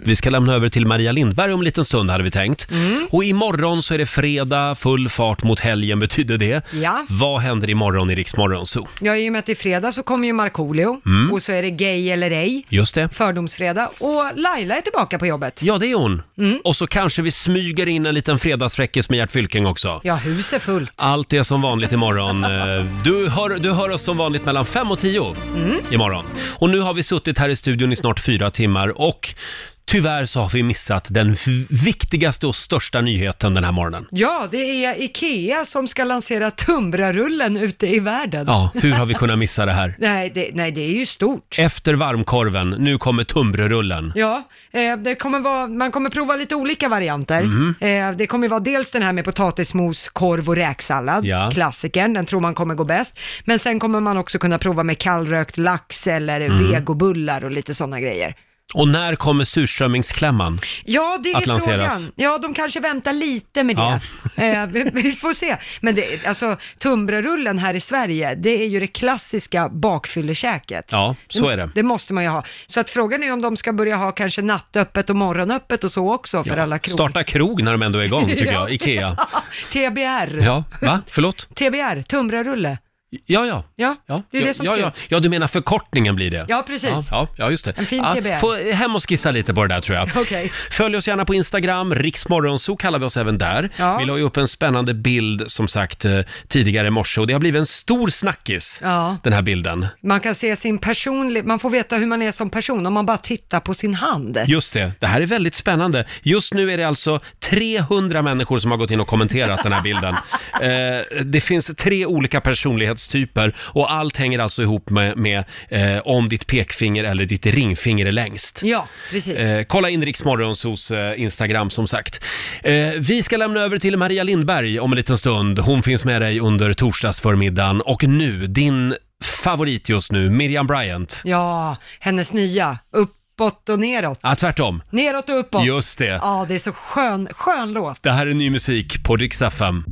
Speaker 1: Vi ska lämna över till Maria Lindberg om en liten stund hade vi tänkt.
Speaker 2: Mm.
Speaker 1: Och imorgon så är det fredag, full fart mot helgen betyder det.
Speaker 2: Ja.
Speaker 1: Vad händer imorgon i Rix Morgon Zoo?
Speaker 2: Ja, i och med att det är fredag så kommer ju Markoolio
Speaker 1: Mm.
Speaker 2: och så är det gay eller ej,
Speaker 1: Just det.
Speaker 2: fördomsfredag och Laila är tillbaka på jobbet.
Speaker 1: Ja, det är hon.
Speaker 2: Mm.
Speaker 1: Och så kanske vi smyger in en liten fredagsfräckis med Gert Fylking också.
Speaker 2: Ja, huset är fullt.
Speaker 1: Allt är som vanligt imorgon. Eh, Du hör, du hör oss som vanligt mellan 5 och 10
Speaker 2: Mm.
Speaker 1: imorgon. Och nu har vi suttit här i studion i snart fyra timmar och tyvärr så har vi missat den v- viktigaste och största nyheten den här morgonen.
Speaker 2: Ja, det är Ikea som ska lansera Tumbrarullen ute i världen.
Speaker 1: Ja, hur har vi kunnat missa det här?
Speaker 2: nej, det, nej, det är ju stort.
Speaker 1: Efter varmkorven, nu kommer tunnbrödsrullen.
Speaker 2: Ja, eh, det kommer vara, man kommer prova lite olika varianter.
Speaker 1: Mhm.
Speaker 2: Eh, det kommer vara dels den här med potatismos, korv och räksallad,
Speaker 1: Ja.
Speaker 2: klassikern, den tror man kommer gå bäst. Men sen kommer man också kunna prova med kallrökt lax eller
Speaker 1: Mm.
Speaker 2: vegobullar och lite sådana grejer.
Speaker 1: Och när kommer surströmmingsklämman?
Speaker 2: Ja, det är
Speaker 1: Att lanseras.
Speaker 2: frågan. Ja, de kanske väntar lite med det. Eh, vi, vi får se. Men det, alltså, tunnbrödsrullen här i Sverige, det är ju det klassiska bakfyllekäket.
Speaker 1: Ja, så är det.
Speaker 2: Mm, Det måste man ju ha. Så att frågan är om de ska börja ha kanske nattöppet och morgonöppet och så också för alla krog.
Speaker 1: Starta krog när de ändå är igång, tycker jag. Ikea.
Speaker 2: TBR.
Speaker 1: Ja, va? Förlåt?
Speaker 2: TBR, tunnbrödsrulle.
Speaker 1: Ja, ja.
Speaker 2: Ja, det är det som
Speaker 1: ja,
Speaker 2: ska
Speaker 1: ja.
Speaker 2: ut.
Speaker 1: ja, du menar förkortningen blir det?
Speaker 2: Ja, precis.
Speaker 1: Ja, ja just det.
Speaker 2: En fin
Speaker 1: ja,
Speaker 2: TBR.
Speaker 1: Få hem och skissa lite på det där tror jag.
Speaker 2: Okej.
Speaker 1: Följ oss gärna på Instagram, riksmorgonso kallar vi oss även där.
Speaker 2: Ja.
Speaker 1: Vi la ju upp en spännande bild som sagt eh, tidigare i morse och det har blivit en stor snackis,
Speaker 2: Ja.
Speaker 1: den här bilden.
Speaker 2: Man kan se sin personlig, man får veta hur man är som person om man bara tittar på sin hand.
Speaker 1: Just det, det här är väldigt spännande. Just nu är det alltså 300 människor som har gått in och kommenterat den här bilden. Eh, det finns tre olika personlighetstyper och allt hänger alltså ihop med, med eh, om ditt pekfinger eller ditt ringfinger är längst.
Speaker 2: Ja, precis.
Speaker 1: Eh, kolla in Riksmorgons hos eh, Instagram som sagt. Eh, vi ska lämna över till Maria Lindberg om en liten stund. Hon finns med dig under torsdagsförmiddagen och nu, din favorit just nu, Miriam Bryant.
Speaker 2: Ja, hennes nya, uppåt och neråt.
Speaker 1: Ja, tvärtom.
Speaker 2: Neråt och uppåt.
Speaker 1: Just det.
Speaker 2: Ja, det är så skön, skön låt.
Speaker 1: Det här är ny musik på Rix FM.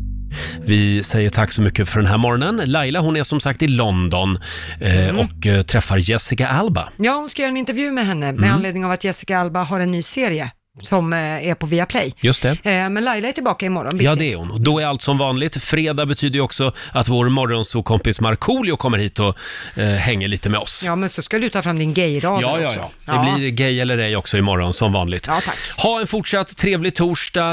Speaker 1: Vi säger tack så mycket för den här morgonen. Laila hon är som sagt i London eh, och eh, träffar Jessica Alba.
Speaker 2: Ja, hon ska göra en intervju med henne med
Speaker 1: Mm.
Speaker 2: anledning av att Jessica Alba har en ny serie som eh, är på Viaplay.
Speaker 1: Just det.
Speaker 2: Eh, Men Laila är tillbaka imorgon.
Speaker 1: Ja,
Speaker 2: bitti.
Speaker 1: det är hon. Och Då är allt som vanligt. Fredag betyder ju också att vår morgonsokompis Markoolio kommer hit och eh, hänger lite med oss.
Speaker 2: Ja, men så ska du ta fram din gayrad
Speaker 1: Ja, ja,
Speaker 2: också.
Speaker 1: ja. Det blir gay eller ej också imorgon, som vanligt.
Speaker 2: Ja, tack.
Speaker 1: Ha en fortsatt trevlig torsdag.